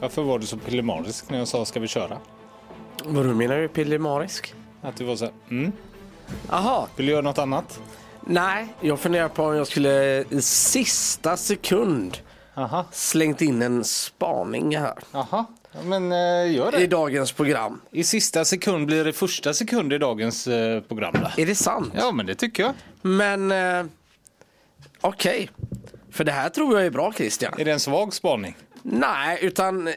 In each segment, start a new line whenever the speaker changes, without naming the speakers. Varför var du så pillemarisk när jag sa ska vi köra?
Vadå menar du pillemarisk?
Att du var så här, mm,
Aha,
vill du göra något annat?
nej. Jag funderar på om jag skulle i sista sekund
Aha,
slängt in en spaning här
aha. Ja, Men eh, gör
i
det.
dagens program.
I sista sekund blir det första sekund i dagens eh, program. Där.
Är det sant?
Ja, men det tycker jag.
Men eh, okej. För det här tror jag är bra Christian.
Är det en svag spaning?
Nej, utan eh,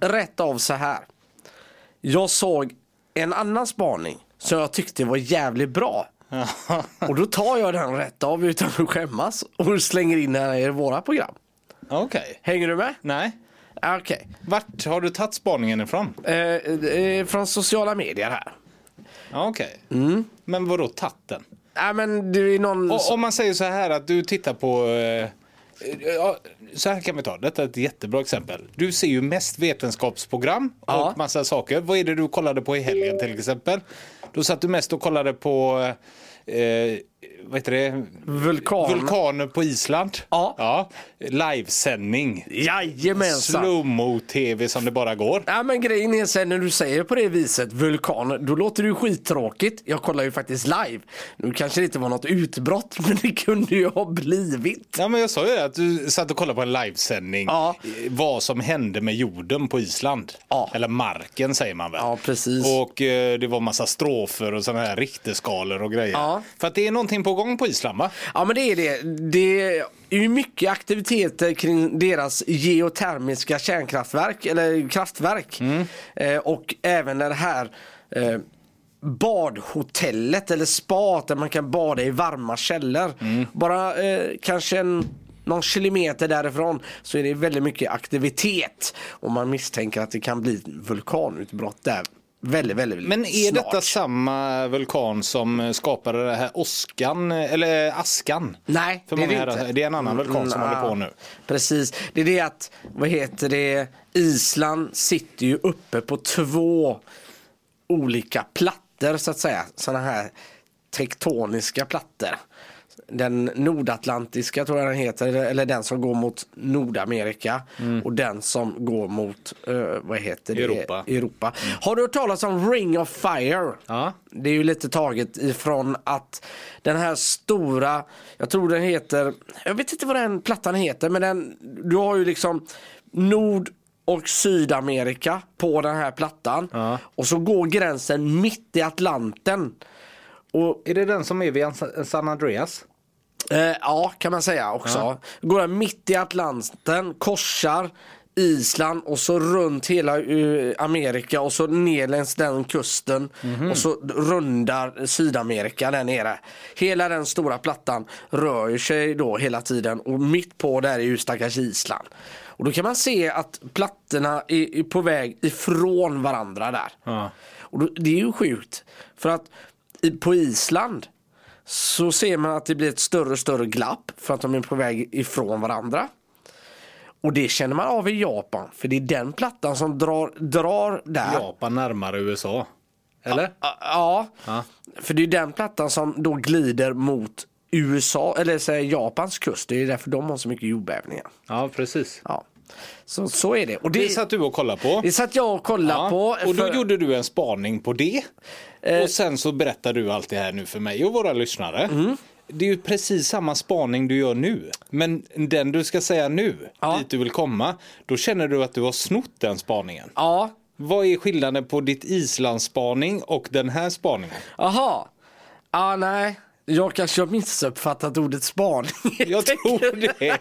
rätt av så här. Jag såg en annan spaning som jag tyckte var jävligt bra. Och då tar jag den rätt av utan att skämmas och slänger in den här i våra program.
Okej.
Hänger du med?
Nej.
Ah, Okej.
Vart har du tagit spaningen ifrån?
Eh, eh, från sociala medier här.
Ja, Okej. Mm. Men vadå tagit den?
Nej men det är någon...
Och
som-
Om man säger så här att du tittar på... Eh, ja, så här kan vi ta, detta är ett jättebra exempel. Du ser ju mest vetenskapsprogram och
Ja.
massa saker. Vad är det du kollade på i helgen till exempel? Då satt du mest och kollade på... Eh, vad heter det?
Vulkan.
Vulkaner på Island.
Ja.
ja. Livesändning.
Jajamensan.
Slowmo-tv som det bara går.
Ja men grejen är sen när du säger på det viset vulkan, då låter det ju skittråkigt. Jag kollar ju faktiskt live. Nu kanske det inte var något utbrott, men det kunde ju ha blivit.
Ja, men jag sa ju det, att du satt och kollade på en livesändning.
Ja.
Eh, Vad som hände med jorden på Island.
Ja.
Eller marken säger man väl.
Ja, precis.
Och eh, det var massa strofer och sådana här rikteskalor och grejer.
Ja.
För att det är någonting på gång på Island va?
Ja men det är det. Det är ju mycket aktiviteter kring deras geotermiska kärnkraftverk, eller kraftverk.
Mm.
Eh, och även det här eh, badhotellet eller spat där man kan bada i varma källor.
Mm.
Bara eh, kanske en någon kilometer därifrån så är det väldigt mycket aktivitet och man misstänker att det kan bli vulkanutbrott där väldigt, väldigt
Men är
snart.
detta samma vulkan som eh, skapade det här åskan, eh, eller eh, askan?
Nej,
För
det är det
många här-
inte.
det är en annan vulkan som
Mm,
håller på
ah,
nu.
Precis. Det är det att, vad heter det, Island sitter ju uppe på två olika plattor så att säga. Sådana här tektoniska plattor. Den nordatlantiska tror jag den heter, eller- eller den som går mot Nordamerika
Mm.
och den som går mot, eh, vad heter det?
Europa.
Europa. Har du hört talas om Ring of Fire?
Ja.
Det är ju lite taget ifrån att den här stora, jag tror den heter, jag vet inte vad den plattan heter men den, du har ju liksom Nord och Sydamerika på den här plattan.
Ja.
Och så går gränsen mitt i Atlanten. Och
Är det den som är vid An- San Andreas?
eh, ja, kan man säga också. Går den mitt i Atlanten, korsar Island och så runt hela eh, Amerika och så ner längs den kusten och så rundar Sydamerika där nere. Hela den stora plattan rör ju sig då hela tiden och mitt på där är ju stackars Island. Och då kan man se att plattorna är är på väg ifrån varandra där.
Ja.
Och då, det är ju sjukt. För att i, på Island så ser man att det blir ett större och större glapp för att de är på väg ifrån varandra. Och det känner man av i Japan för det är den plattan som drar, drar där.
Japan närmare USA. Eller?
Ja, ja.
Ja.
för det är den plattan som då glider mot USA, eller säger Japans kust. Det är därför de har så mycket jordbävningar.
Ja, precis.
Ja. Så, så är det. Och det,
Det satt du och kollade på.
det satt jag och kollade
Ja,
på.
Och då
för- Eh.
gjorde du en spaning på det. Och sen så berättar du allt det här nu för mig och våra lyssnare.
Mm.
Det är ju precis samma spaning du gör nu. Men den du ska säga nu,
Ja.
dit du vill komma, då känner du att du har snott den spaningen.
Ja,
Vad är skillnaden på ditt Islandsspaning och den här spaningen?
Aha. Ah, nej. Jag kanske har missuppfattat ordet spaning.
Jag tror det. det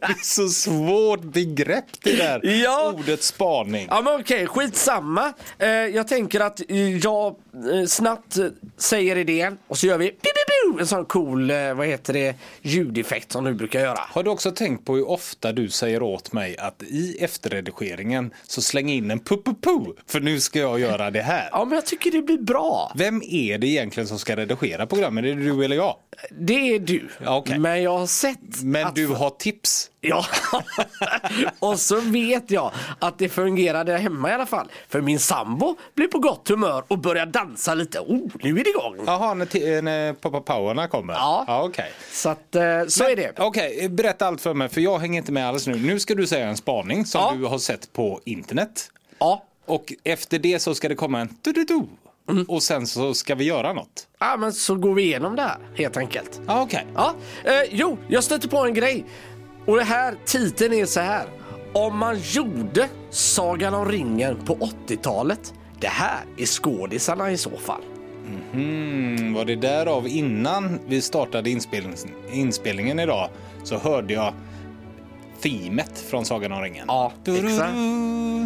är så svårt begrepp det där
Ja.
ordet spaning.
Ja men okej, skitsamma. Eh, jag tänker att eh, jag eh, snabbt eh, säger idén och så gör vi piu, piu, piu, en sån cool, eh, vad heter det, ljudeffekt som du brukar göra.
Har du också tänkt på hur ofta du säger åt mig att i efterredigeringen så släng in en pu-pu-pu för nu ska jag göra det här.
Ja men jag tycker det blir bra.
Vem är det egentligen som ska redigera programmen? Är det du eller jag?
Det är du.
Ja, okej.
Men jag har sett
Men
att...
du har tips.
Ja. och så vet jag att det fungerade hemma i alla fall. För min sambo blev på gott humör och började dansa lite. Oh, nu är det igång.
Jaha, när, ti- när pappa Litauerna kommer?
Ja.
ja okej.
Så, att, eh, så är det.
Okej, berätta allt för mig för jag hänger inte med alls nu. Nu ska du säga en spaning som
Ja.
du har sett på internet.
Ja.
Och efter det så ska det komma en du
Mm.
och sen så ska vi göra något.
ja, men så går vi igenom det här helt enkelt.
Ja, okej.
Ja, eh, jo, jag stötte på en grej. Och det här, titeln är så här. Om man gjorde Sagan om ringen på 80-talet. Det här är skådisarna i så fall.
Mm, var det därav innan vi startade inspelnings- inspelningen idag så hörde jag teamet från Sagan om ringen.
Ja,
Du-du-du.
exakt.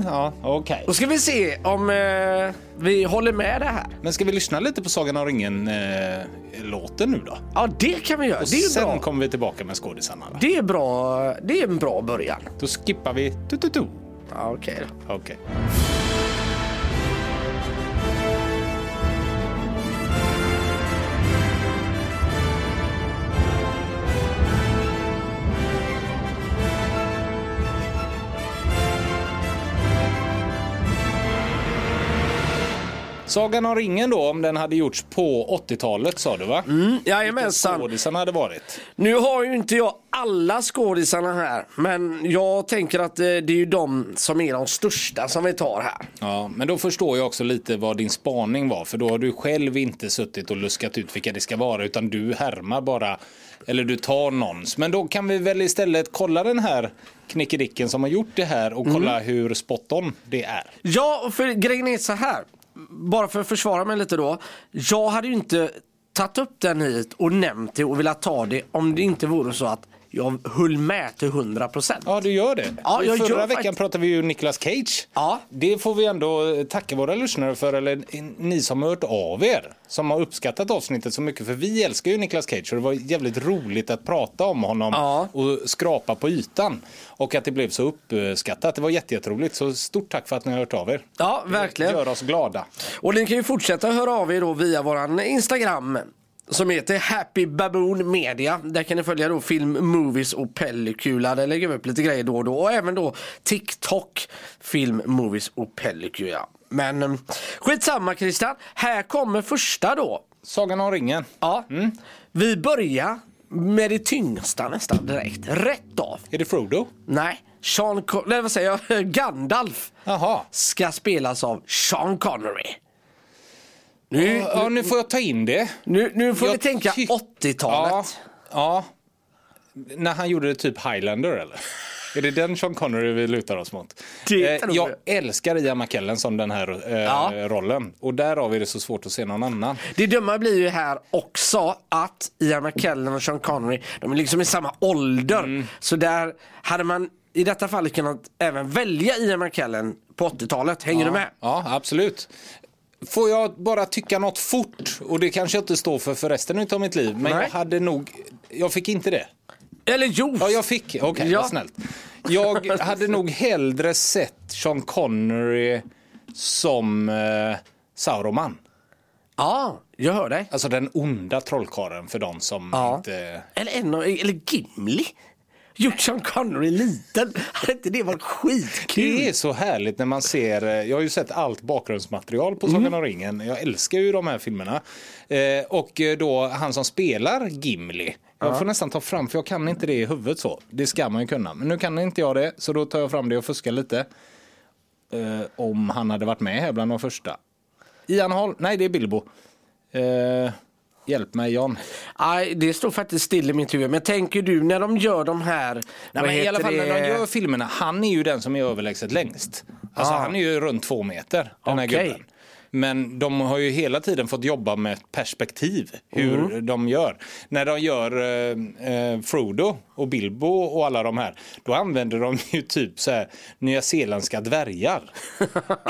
Ja, okej.
Då ska vi se om eh, vi håller med det här.
Men ska vi lyssna lite på Sagan om ringen-låten nu då?
Ja, det kan vi göra. Det är
Sen
bra.
kommer vi tillbaka med skådisarna. då.
Det är bra. Det är en bra början.
Då skippar vi tu-tu-tu.
Ja, okej då.
Okej. Sagan om ringen då, om den hade gjorts på 80-talet sa du va? Mm,
Jajamensan.
Skådisarna hade varit.
Nu har ju inte jag alla skådisarna här, men jag tänker att eh, det är ju de som är de största som vi tar här.
Ja, men då förstår jag också lite vad din spaning var, för då har du själv inte suttit och luskat ut vilka det ska vara, utan du härmar bara, eller du tar någons. Men då kan vi väl istället kolla den här knickedicken som har gjort det här och kolla hur spot on det är.
Ja, för grejen är så här. Bara för att försvara mig lite då. Jag hade ju inte tagit upp den hit och nämnt det och velat ta det om det inte vore så att jag höll med till 100%.
Ja, du gör det.
Ja, jag
Förra
gör
veckan
fakt-
pratade vi ju Niklas Cage.
Ja.
Det får vi ändå tacka våra lyssnare för, eller ni som har hört av er, som har uppskattat avsnittet så mycket, för vi älskar ju Niklas Cage och det var jävligt roligt att prata om honom
Ja.
och skrapa på ytan. Och att det blev så uppskattat, det var jätte- jätteroligt. Så stort tack för att ni har hört av er.
Ja, verkligen.
Gör oss glada.
Och ni kan ju fortsätta höra av er då via våran Instagram som heter Happy Baboon Media. Där kan ni följa då film, movies och pellicula. Där lägger vi upp lite grejer då och då. Och även då TikTok, film, movies och pellicula. Men eh, skitsamma Christian. Här kommer första då.
Sagan om ringen.
Ja. Vi börjar med det tyngsta nästan direkt. Rätt av.
Är det Frodo?
Nej, Sean Con- Nej, vad säger jag? Gandalf
Jaha.
ska spelas av Sean Connery. Nu,
Ja, nu får jag ta in det.
nu, nu får vi
Jag
tänka
tyck-
80-talet.
Ja, ja. När han gjorde det typ Highlander eller? Är det den Sean Connery vi lutar oss mot?
Det
eh,
tror
jag
jag.
älskar Ian McKellen som den här eh,
Ja.
rollen. Och därav är det så svårt att se någon annan.
Det dumma blir ju här också att Ian McKellen och Sean Connery, de är liksom i samma ålder.
Mm.
Så där hade man i detta fallet kunnat även välja Ian McKellen på 80-talet. Hänger du med?
Ja, absolut. Får jag bara tycka något fort? Och det kanske jag inte står för för resten av mitt liv. Men
Nej.
jag hade nog... Jag fick inte det.
Eller jo!
Ja, jag fick. Okej,
Ja.
vad snällt. Jag hade nog hellre sett Sean Connery som eh, Sauroman.
ja, jag hör dig.
Alltså den onda trollkaren för de som
Ja.
inte...
Eller, en, av- eller Gimli. Gjort Sean Connery liten. Hade inte det varit skitkul?
Det är så härligt när man ser, eh, jag har ju sett allt bakgrundsmaterial på Sagan om ringen. Jag älskar ju de här filmerna. Eh, och eh, då han som spelar Gimli. Jag får nästan ta fram, för jag kan inte det i huvudet så. Det ska man ju kunna. Men nu kan inte jag det, så då tar jag fram det och fuskar lite. Eh, om han hade varit med här bland de första. Ian Holm, nej det är Bilbo. Eh, hjälp mig John.
Nej, det står faktiskt still i mitt huvud. Men tänker du när de gör de här...
Nej,
vad
men I
heter
alla fall när
det?
de gör filmerna, han är ju den som är överlägset längst. Alltså
Ah.
han är ju runt två meter, den här
Okej.
gubben. Men de har ju hela tiden fått jobba med ett perspektiv, hur
Mm.
de gör. När de gör eh, eh, Frodo och Bilbo och alla de här, då använder de ju typ så här nyzeeländska dvärgar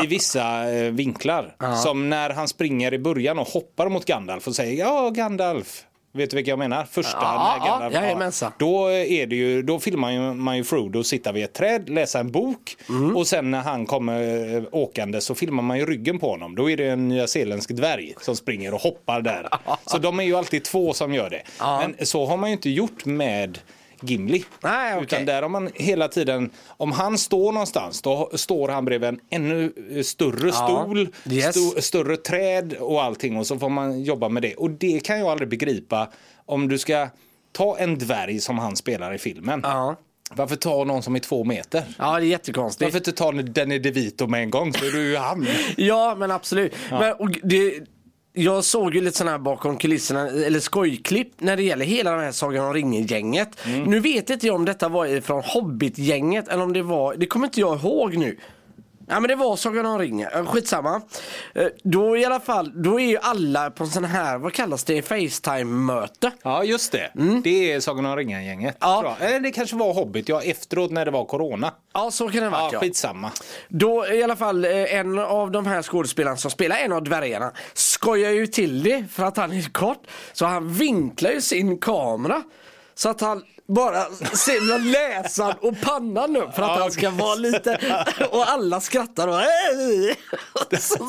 i vissa eh, vinklar. Som när han springer i början och hoppar mot Gandalf och säger ja Gandalf. Vet du vilka jag menar? Första
Ja,
när
ja,
Gandalf,
jajamensan.
då, är det ju, då filmar ju, man ju Frodo sitta vid ett träd, läsa en bok
Mm.
och sen när han kommer eh, åkande så filmar man ju ryggen på honom. Då är det en nyzeeländsk dvärg som springer och hoppar där. Så de är ju alltid två som gör det. Men så har man ju inte gjort med Gimli.
Nej, okej.
Utan där har man hela tiden, om han står någonstans då står han bredvid en ännu eh, större stol,
Yes.
sto- större träd och allting och så får man jobba med det. Och det kan jag aldrig begripa om du ska ta en dvärg som han spelar i filmen.
Ja.
Varför ta någon som är två meter?
Ja, det är jättekonstigt.
Varför inte ta Danny DeVito med en gång så är du ju han.
Ja, men absolut. Men, och det, jag såg ju lite sådana här bakom kulisserna, eller skojklipp, när det gäller hela det här Sagan om ringen-gänget. Nu vet inte jag om detta var ifrån Hobbit-gänget eller om det var, det kommer inte jag ihåg nu. Ja men det var Sagan om ringen, Eh, skitsamma. Eh, Då i alla fall, då är ju alla på en sån här, vad kallas det, Facetime-möte.
Ja, just det. Mm. Det är Sagan om ringen-gänget.
Ja.
tror jag. Eller det kanske var Hobbit, ja efteråt när det var corona.
Ja så kan det vara.
Ja, skitsamma.
Då i alla fall eh, en av de här skådespelarna som spelar en av dvärgarna skojar ju till det för att han är kort. Så han vinklar ju sin kamera så att han bara ser med näsan och pannan upp för att
Ja,
han ska
okej.
vara lite och alla skrattar och så,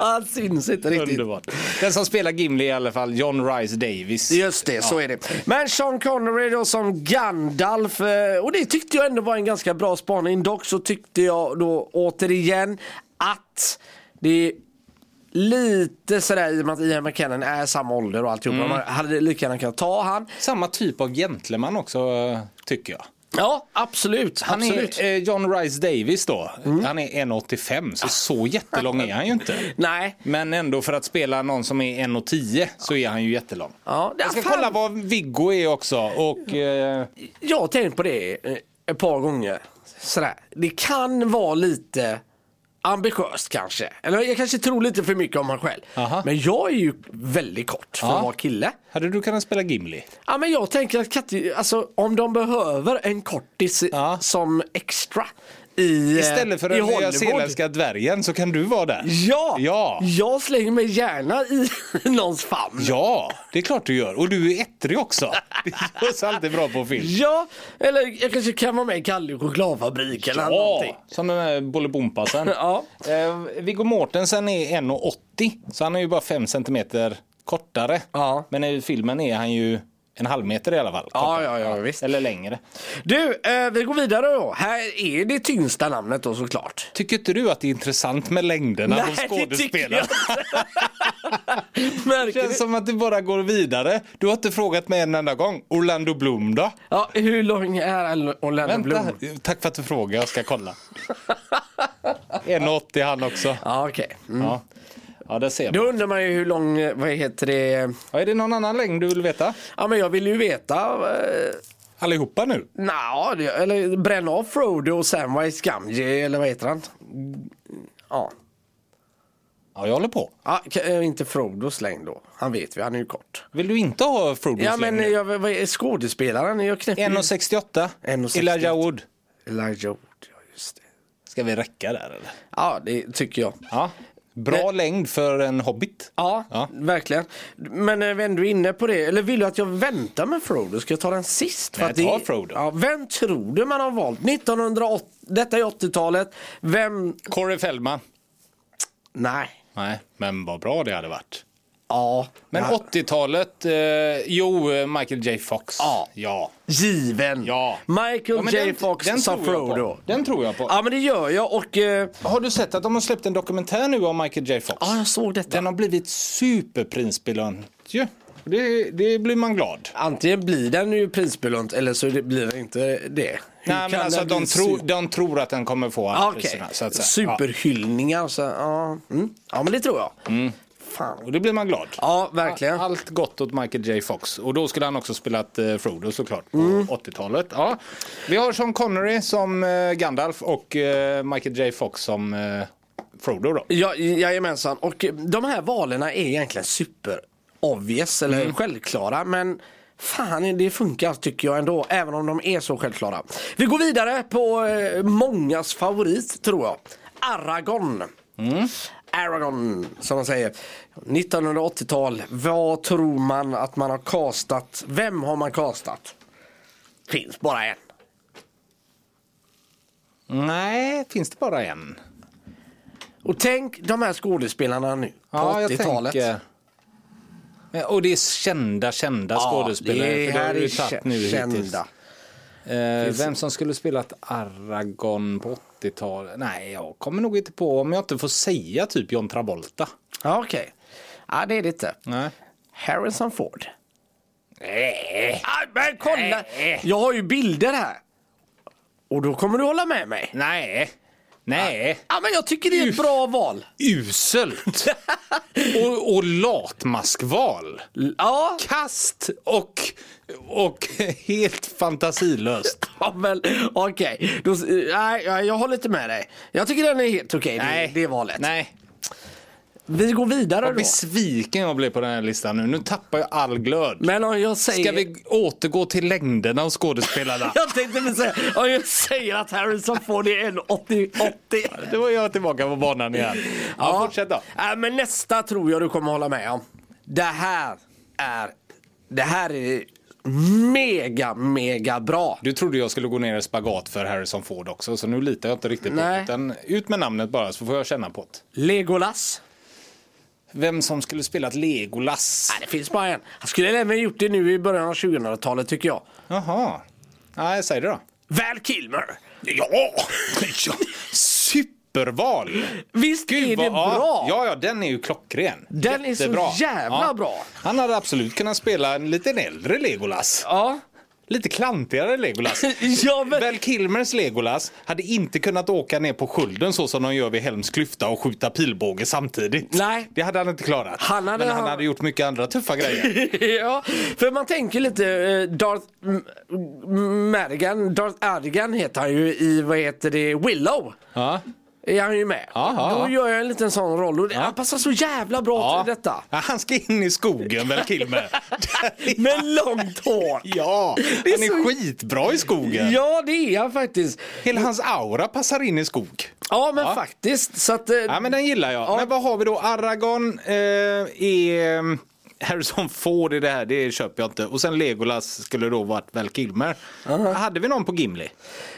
han syns inte riktigt.
Underbart. Den som spelar Gimli i alla fall, John Rice Davis.
Just det, så är det. Men Sean Connery då som Gandalf eh, och det tyckte jag ändå var en ganska bra spaning. Dock så tyckte jag då återigen att det är lite sådär i och med att Ian McKellen är samma ålder och alltihopa.
Mm.
Man hade lika gärna kunnat ta han.
Samma typ av gentleman också, eh, tycker jag.
Ja, absolut.
Han
absolut.
är eh, John Rice Davis då. Han är 1,85
Ah.
så så jättelång är han ju inte.
Nej.
Men ändå för att spela någon som är 1,10 så är han ju jättelång.
Ja,
Jag ska
Ah. fan.
kolla vad Viggo är också. Och, eh,
Jag har tänkt på det eh, ett par gånger. Sådär. Det kan vara lite ambitiöst kanske. Eller jag kanske tror lite för mycket om mig själv.
Aha.
Men jag är ju väldigt kort för
Ja.
att vara kille.
hade du kunnat spela Gimli?
Ja men jag tänker att Katti, alltså om de behöver en kortis i-
Ja.
som extra i, eh,
Istället för
i
den
Hollywood.
nyzeeländska dvärgen så kan du vara där.
Ja,
Ja!
jag slänger mig gärna i någons famn.
Ja, det är klart du gör. Och du är ettrig också. Det görs alltid bra på film.
Ja, eller jag kanske kan vara med i Kalle chokladfabrik eller någonting.
som den där Bolibompa-sen.
Ja.
eh, Viggo Mortensen är 1,80 så han är ju bara 5 centimeter kortare.
Ja.
Men i filmen är han ju en halv meter i alla fall.
Ja,
kortare.
ja, ja, visst.
Eller längre.
Du, eh, vi går vidare då. Här är det tyngsta namnet då såklart.
Tycker inte du att det är intressant med längderna på skådespelare?
inte.
Det
Märker du?
känns som att det bara går vidare. Du har inte frågat mig en enda gång. Orlando Bloom då?
Ja, hur lång är Orlando
Vänta,
Bloom?
tack för att du frågar. Jag ska kolla. 1,80 han också.
Ja, okej.
Ja, ja där ser
Då
man.
undrar man ju hur lång, eh, vad heter det?
Ja, är det någon annan längd du vill veta?
Ja men jag vill ju veta, eh,
Allihopa nu?
nja, det- eller bränna av Frodo och Samwise Gamgee eller vad heter han? Ja,
Ja, jag håller på.
ja k- eh, inte Frodos längd då. Han vet vi, han är ju kort.
Vill du inte ha Frodos
Ja
längd?
men jag, vad är skådespelaren? Jag knäpper ju-
1,68.
1,68.
Elijah Wood.
Elijah Wood, ja just det.
Ska vi räcka där eller?
Ja det tycker jag.
Ja. Bra längd för en hobbit.
Ja,
Ja.
verkligen. Men när vi ändå är inne på det, eller vill du att jag väntar med Frodo? Ska jag ta den sist?
Nej,
att det
ta
är-
Frodo.
Ja, vem tror du man har valt? 1980, detta är 80-talet. Vem?
Corey Feldman.
Nej.
Nej, men vad bra det hade varit.
Ja,
Men
ja.
80-talet, eh, jo, eh, Michael J Fox.
Ja.
ja.
given.
Ja.
Michael
Ja, men
J
den-
Fox
den
sa
tror jag på.
Frodo.
Den tror jag på.
Ja men det gör jag och... eh,
Har du sett att de har släppt en dokumentär nu om Michael J Fox?
Ja, jag såg detta.
Den har blivit superprinsbelönt ju. Det, det blir man glad.
Antingen blir den ju prisbelönt eller så det- blir den inte det. Hur
Nej, men
kan
alltså
den
de,
bli
tror,
su-
de tror att den kommer få alla
Ah, okej.
priserna. Så att säga. Ja.
Superhyllningar. Så, ja. Mm. ja men det tror jag.
Mm.
Fan.
Och då blir man glad.
Ja verkligen.
Allt gott åt Michael J Fox. Och då skulle han också spelat eh, Frodo såklart på 80-talet. Ja. Vi har Sean Connery som eh, Gandalf och eh, Michael J Fox som eh, Frodo då.
Ja, jajamensan. Och de här valerna är egentligen super obvious eller
Mm.
självklara men fan det funkar tycker jag ändå även om de är så självklara. Vi går vidare på eh, mångas favorit tror jag. Aragon.
Mm.
Aragon som man säger. 1980-tal. Vad tror man att man har castat? Vem har man castat? Finns bara en.
Nej, finns det bara en?
Och tänk de här skådespelarna nu på
Ja, jag
80-talet.
tänker. Men- Och det är kända, kända skådespelare.
det
för det har
här
du ju
är
tagit
kä-
nu hittills.
kända.
Eh, vem som skulle spelat Aragon på 80-talet? Nej, jag kommer nog inte på om jag inte får säga typ John Travolta.
Ja, okej. Ja, det är det inte.
Nej.
Harrison Ford.
Nej.
Ah, men kolla!
Nej.
Jag har ju bilder här. Och då kommer du hålla med mig.
Nej. Nej.
Ja, men jag tycker det är ett bra val.
Ah, Uselt. och, och latmaskval.
Ja,
Kast och, och helt fantasilöst.
ja men okej. Då- eh, Nej, jag- jag håller inte med dig. Jag tycker den är helt okej,
Nej.
det, det valet.
Nej.
Vi går vidare
Vad
då.
besviken jag blev på den här listan nu. Nu tappar jag all glöd.
Men om jag säger...
Ska vi återgå till längderna och skådespelarna?
Jag tänkte väl säga, om jag säger att Harrison Ford är en 80
Då är jag tillbaka på banan igen. Ja, fortsätt då.
Äh, men nästa tror jag du kommer hålla med om. Det här är, det här är mega, mega bra.
Du trodde jag skulle gå ner i spagat för Harrison Ford också, så nu litar jag inte riktigt på
Nej.
det. Utan ut med namnet bara så får jag känna på det.
Legolas.
Vem som skulle spelat Legolas?
Nej, Äh, det finns bara en. Han skulle även gjort det nu i början av 2000-talet tycker jag.
Jaha. Nej, säg det då.
Val Kilmer.
Ja! Ja, Superval!
Visst är det
vad-
bra?
Ja, ja, den är ju klockren.
Den är så jävla bra.
Han hade absolut kunnat spela en lite äldre Legolas.
Ja.
Lite klantigare Legolas.
Ja, men-
Val Kilmers Legolas hade inte kunnat åka ner på skulden så som de gör vid Helms klyfta och skjuta pilbåge samtidigt.
Nej.
Det hade han inte klarat.
Han hade-
Men han hade gjort mycket andra tuffa grejer.
ja, för man tänker lite eh, Darth M- M- Mergan, Darth Ergan heter han ju i, vad heter det, Willow.
ja.
Är han ju med.
Aha.
Då gör jag en liten sån roll och det- han passar så jävla bra till detta.
Ja, han ska in i skogen Val Kilmer. Där är-
Med långt hår.
ja,
Det är
han är
så-
skitbra i skogen.
Ja det är han faktiskt.
Hela hans aura passar in i skog.
Ja men faktiskt. Så att, eh,
Ja, men den gillar jag. Men vad har vi då? Aragorn eh, är... mm, Harrison Ford i det här, det köper jag inte. Och sen Legolas skulle då varit Val Kilmer. Hade vi någon på Gimli?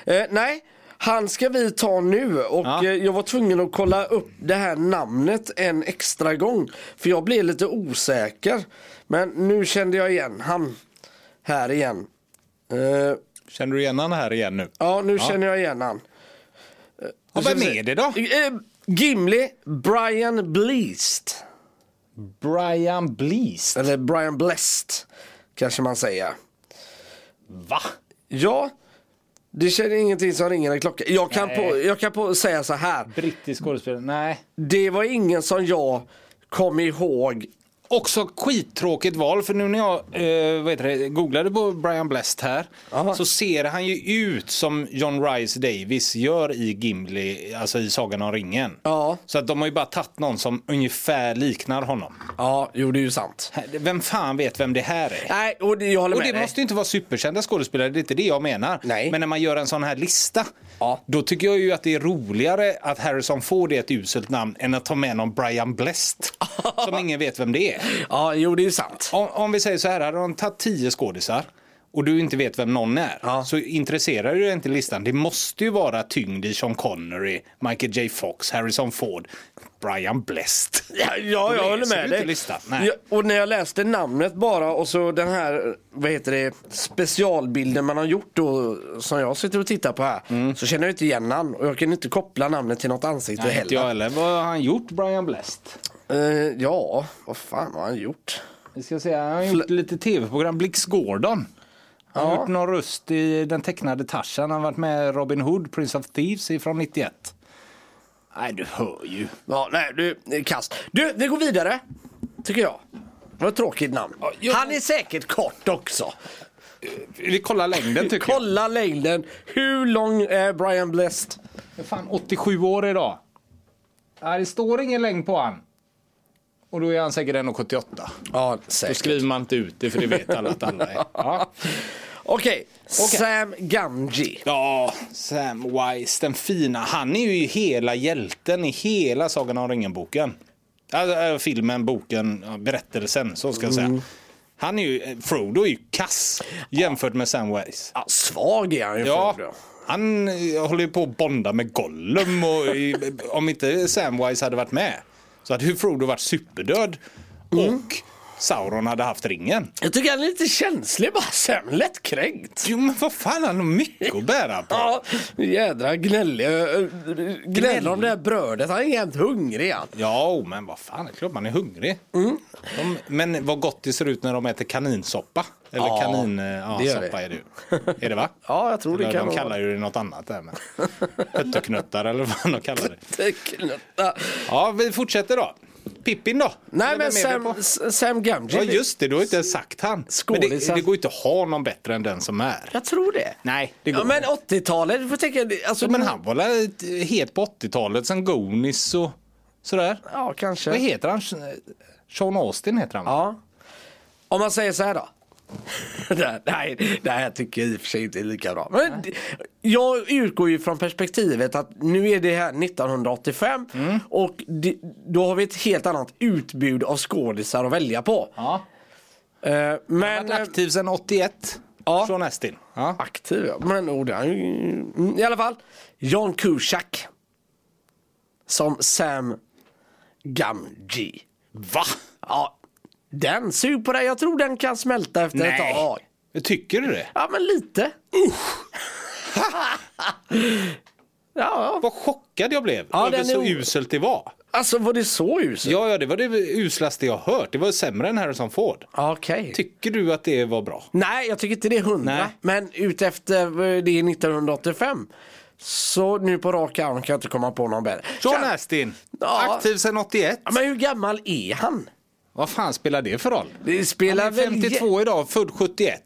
eh, nej. Han ska vi ta nu och
Ja.
eh, jag var tvungen att kolla upp det här namnet en extra gång. För jag blev lite osäker. Men nu kände jag igen han. Här igen. Eh,
Känner du igen han här igen nu?
ja nu känner jag igen han.
Och vem är det då?
Eh, Gimli, Brian Bleast.
Brian Bleast.
Eller Brian Blessed kanske man säger.
Va?
Ja, det känner ingenting som ringer en klocka. Jag kan, på, jag kan på säga så här.
Brittisk skådespelare? Nej.
Det var ingen som jag kom ihåg.
Också skittråkigt val för nu när jag eh, vad heter det, googlade på Brian Blessed här
Aha.
så ser han ju ut som John Rhys Davis gör i Gimli, alltså i Sagan om ringen.
Ja.
Så att de har ju bara tagit någon som ungefär liknar honom.
Ja, jo det är ju sant.
Vem fan vet vem det här är?
Nej, och det, jag håller
Och
med
det
dig.
måste ju inte vara superkända skådespelare, det är inte det jag menar.
Nej.
Men när man gör en sån här lista,
Ja.
då tycker jag ju att det är roligare att Harrison Ford är ett uselt namn än att ta med någon Brian Blessed, som ingen vet vem det är.
Ja, jo det är ju sant.
Om, om vi säger så här, hade de tagit tio skådisar och du inte vet vem någon är
Ja.
så intresserar du dig inte i listan. Det måste ju vara tyngd i Sean Connery, Michael J Fox, Harrison Ford, Brian Blessed.
Ja, ja jag
läser
håller
du
med
inte
dig.
listan? Nej.
Ja, och när jag läste namnet bara och så den här, vad heter det, specialbilden man har gjort då som jag sitter och tittar på här. Så känner jag inte igen han och jag kan inte koppla namnet till något ansikte
Mm. Nej, inte
heller.
jag heller. Vad har han gjort, Brian Blessed?
Eh, ja, vad fan har han gjort?
Vi ska se, han har gjort lite tv-program, Blix Gordon. Han har gjort någon röst i den tecknade Tarzan. Han har varit med i Robin Hood, Prince of Thieves från 91. Nej, du hör ju.
Ja, nej, du, det är kast. Du, vi går vidare. Tycker jag. Det var ett tråkigt namn.
jag-
Han är säkert kort också.
Vi kollar längden tycker jag.
Kolla längden. Hur lång är Brian Blessed?
För fan 87 år idag. Nej, det står ingen längd på han. Och då är han säkert 1,78.
Ja,
Då
säkert.
skriver man inte ut det för det vet alla att alla är. Ja.
Okej, Sam Gamgee.
ja, Sam Wise, den fina. Han är ju hela hjälten i hela Sagan om ringen-boken. Alltså, eh, filmen, boken, ja, berättelsen, så ska jag säga. Han är ju, eh, Frodo är ju kass jämfört med Sam Wise.
Ja, svag är han ju.
Ja,
Frodo.
han eh, håller ju på att bonda med Gollum och i-
Mm.
om inte Samwise hade varit med så hade ju Frodo varit superdöd och Sauron hade haft ringen.
Jag tycker han är lite känslig bara. Sam lättkränkt.
Jo men vad fan, han har mycket att bära på.
Ja, jädra gnällig. Ö, ö, Gnäller om det här brödet. Han är jämt hungrig han.
Ja, men vad fan, det är klart man är hungrig.
Mm.
De, men vad gott det ser ut när de äter kaninsoppa. Eller
Ja,
kanin... eh,
det
Ja,
gör
soppa
det.
är det ju. Är det va?
Ja, jag tror det
Eller de
kan vara.
kallar ju det något annat där men. Hötteknuttar eller vad de kallar det.
Knutta.
Ja, vi fortsätter då. Pippin då?
Nej
Eller vem
men
är vi
Sam,
på?
S- Sam Gamgee.
Ja just det, du har inte sagt han. Men det,
Skådisen.
det går ju inte att ha någon bättre än den som är.
Jag tror det.
Nej, det går
Ja,
inte.
men 80-talet, du får tänka, det- alltså,
Ja, Men han var väl het på 80-talet sen Goonies och sådär.
ja
Vad
kanske.
heter han? Sean Austin heter han va?
Ja. Om man säger så här då. Det här- Nej, det här tycker jag i och för sig inte är lika bra. Men det- jag utgår ju från perspektivet att nu är det här 1985
Mm.
och det, då har vi ett helt annat utbud av skådisar att välja på.
Ja.
Eh,
Han
Men
har varit aktiv sedan 81.
Ja.
Sean Austin. Ja.
aktiv, ja. Men oh, det är han ju... mm, I alla fall, John Cusack. Som Sam Gamgee.
Va?
Ja, den sug på dig. Jag tror den kan smälta efter ett tag.
Tycker du det?
Ja, men lite. ja, ja.
Vad chockad jag blev
Ja,
över
den är
så
o-
uselt det var.
alltså var det så uselt?
Ja, ja, det var det uslaste jag hört. Det var sämre än Harrison Ford.
Ja. Okej.
Tycker du att det var bra?
Nej, jag tycker inte det är hundra.
Nej.
Men utefter eh, det är 1985. Så nu på rak arm kan jag inte komma på någon bättre.
Sean
Kan-
Astin,
Ja.
aktiv sedan 81.
Ja, Men hur gammal är han?
Vad fan spelar det för roll?
Det
Han
spelar
är
väl...
52 idag, född 71.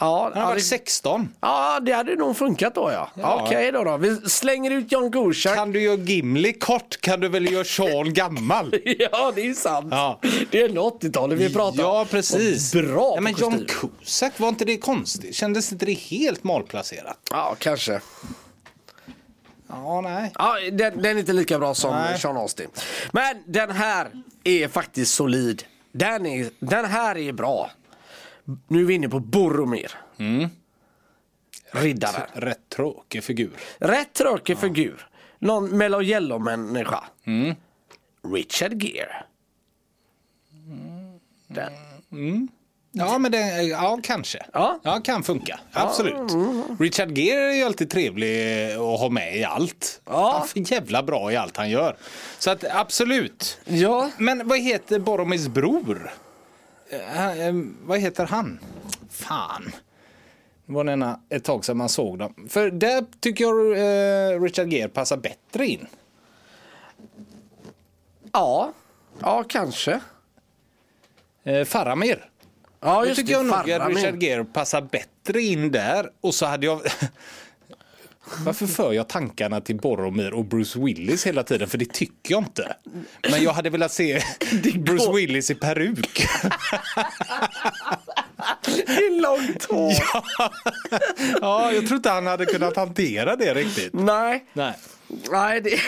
Ja,
Han har
ja,
varit
det...
16.
ja, det hade nog funkat då ja.
Ja.
Okej då, då. Vi slänger ut John Cusack.
Kan du göra Gimli kort kan du väl göra Sean gammal.
Ja, det är sant.
Ja.
Det är ändå 80-talet vi pratar om.
Ja, precis.
Och Bra
ja, men
på
John
kostym.
Cusack, var inte det konstigt? Kändes inte det helt malplacerat?
Ja, kanske.
Ja, nej.
Ja, den, den är inte lika bra som
Nej.
Sean Austin. Men den här är faktiskt solid. Den, är, den här är bra. Nu är vi inne på Boromir. Mm. Riddaren.
Rätt tråkig figur.
Rätt tråkig figur. Någon Mellow Yellow-människa.
Mm.
Richard Gere. Den.
Ja, men det, ja, kanske.
Ja.
kan funka. Absolut. Richard Gere är ju alltid trevlig att ha med i allt.
Ja.
Han är för jävla bra i allt han gör. Så att, absolut.
Ja.
Men vad heter Boromirs bror? Eh, han, eh, vad heter han? Fan. Det var den ena- ett tag sedan man såg dem. För där tycker jag eh, Richard Gere passar bättre in.
Ja. Ja, kanske.
Eh, Faramir.
Ja,
Då
just
tycker
det.
jag nog att
Faramir.
Richard Gere passar bättre in där. Och så hade jag... Varför för jag tankarna till Boromir och Bruce Willis hela tiden? För det tycker jag inte. Men jag hade velat se Bruce Willis i peruk.
Det är långt hår.
Ja, jag tror inte han hade kunnat hantera det riktigt.
Nej.
Nej.
Nej, det...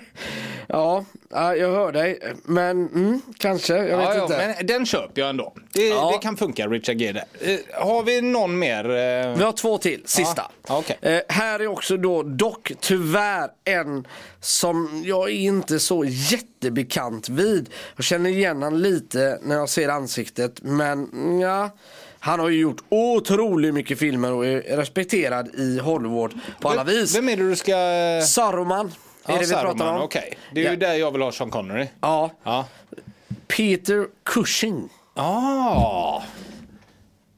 ja, ja, jag hör dig. Men mm, kanske, jag vet
Ja, ja,
inte.
men den köper jag ändå. Det,
Ja.
det kan funka, Richard Gere. Eh, har vi någon mer? Eh,
Vi har två till, sista.
Ja, okej.
eh, här är också då dock tyvärr en som jag är inte så jättebekant vid. Jag känner igen han lite när jag ser ansiktet men ja. Han har ju gjort otroligt mycket filmer och är respekterad i Hollywood på alla vis.
Vem är det du ska...
Saruman är det vi pratar om.
Okej, det är ju
Ja.
där jag vill ha Sean Connery.
Ja,
Ja.
Peter Cushing.
Ah,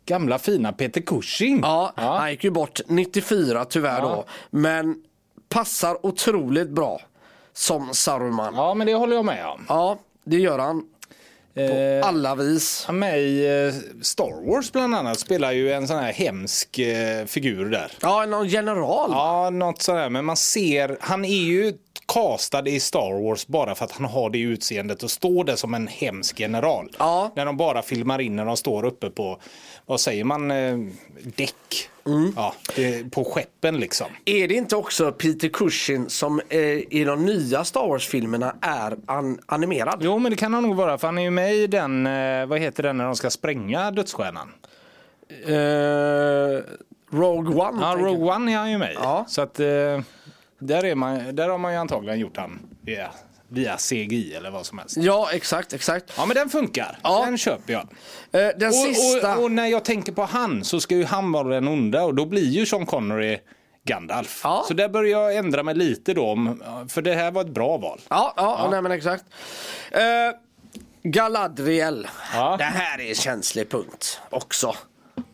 gamla fina Peter Cushing.
Ja, han gick ju bort 94 tyvärr då. Men passar otroligt bra som Saruman. Ja,
ja, men det håller jag med om.
det gör han på
Eh,
alla vis.
han med i eh, Star Wars bland annat spelar ju en sån här hemsk eh, figur där.
Ja, någon general.
Ja, något sådär. Men man ser, han är ju castad i Star Wars bara för att han har det utseendet och står där som en hemsk general.
Ja.
När de bara filmar in när de står uppe på, vad säger man, eh, däck.
Mm.
Ja, det, på skeppen liksom.
Är det inte också Peter Cushing som eh, i de nya Star Wars-filmerna är an- animerad?
Jo, men det kan han nog vara för han är ju med i den, eh, vad heter den när de ska spränga dödsstjärnan?
Eh, Rogue One.
Ja,
tänker jag.
Rogue One är han ju med i.
Ja.
Så att eh, där, är man, där har man ju antagligen gjort han. Ja, via CGI eller vad som helst.
Ja, exakt, exakt.
Ja men den funkar,
Mm. Ja.
den köper jag.
Eh, den
Och,
sista.
och, och när jag tänker på han så ska ju han vara den onda och då blir ju Sean Connery Gandalf.
Ja.
Så där börjar jag ändra mig lite då, om- för det här var ett bra val.
Ja, ja, Nej, men exakt. Eh, Galadriel.
Ja.
Det här är en känslig punkt också,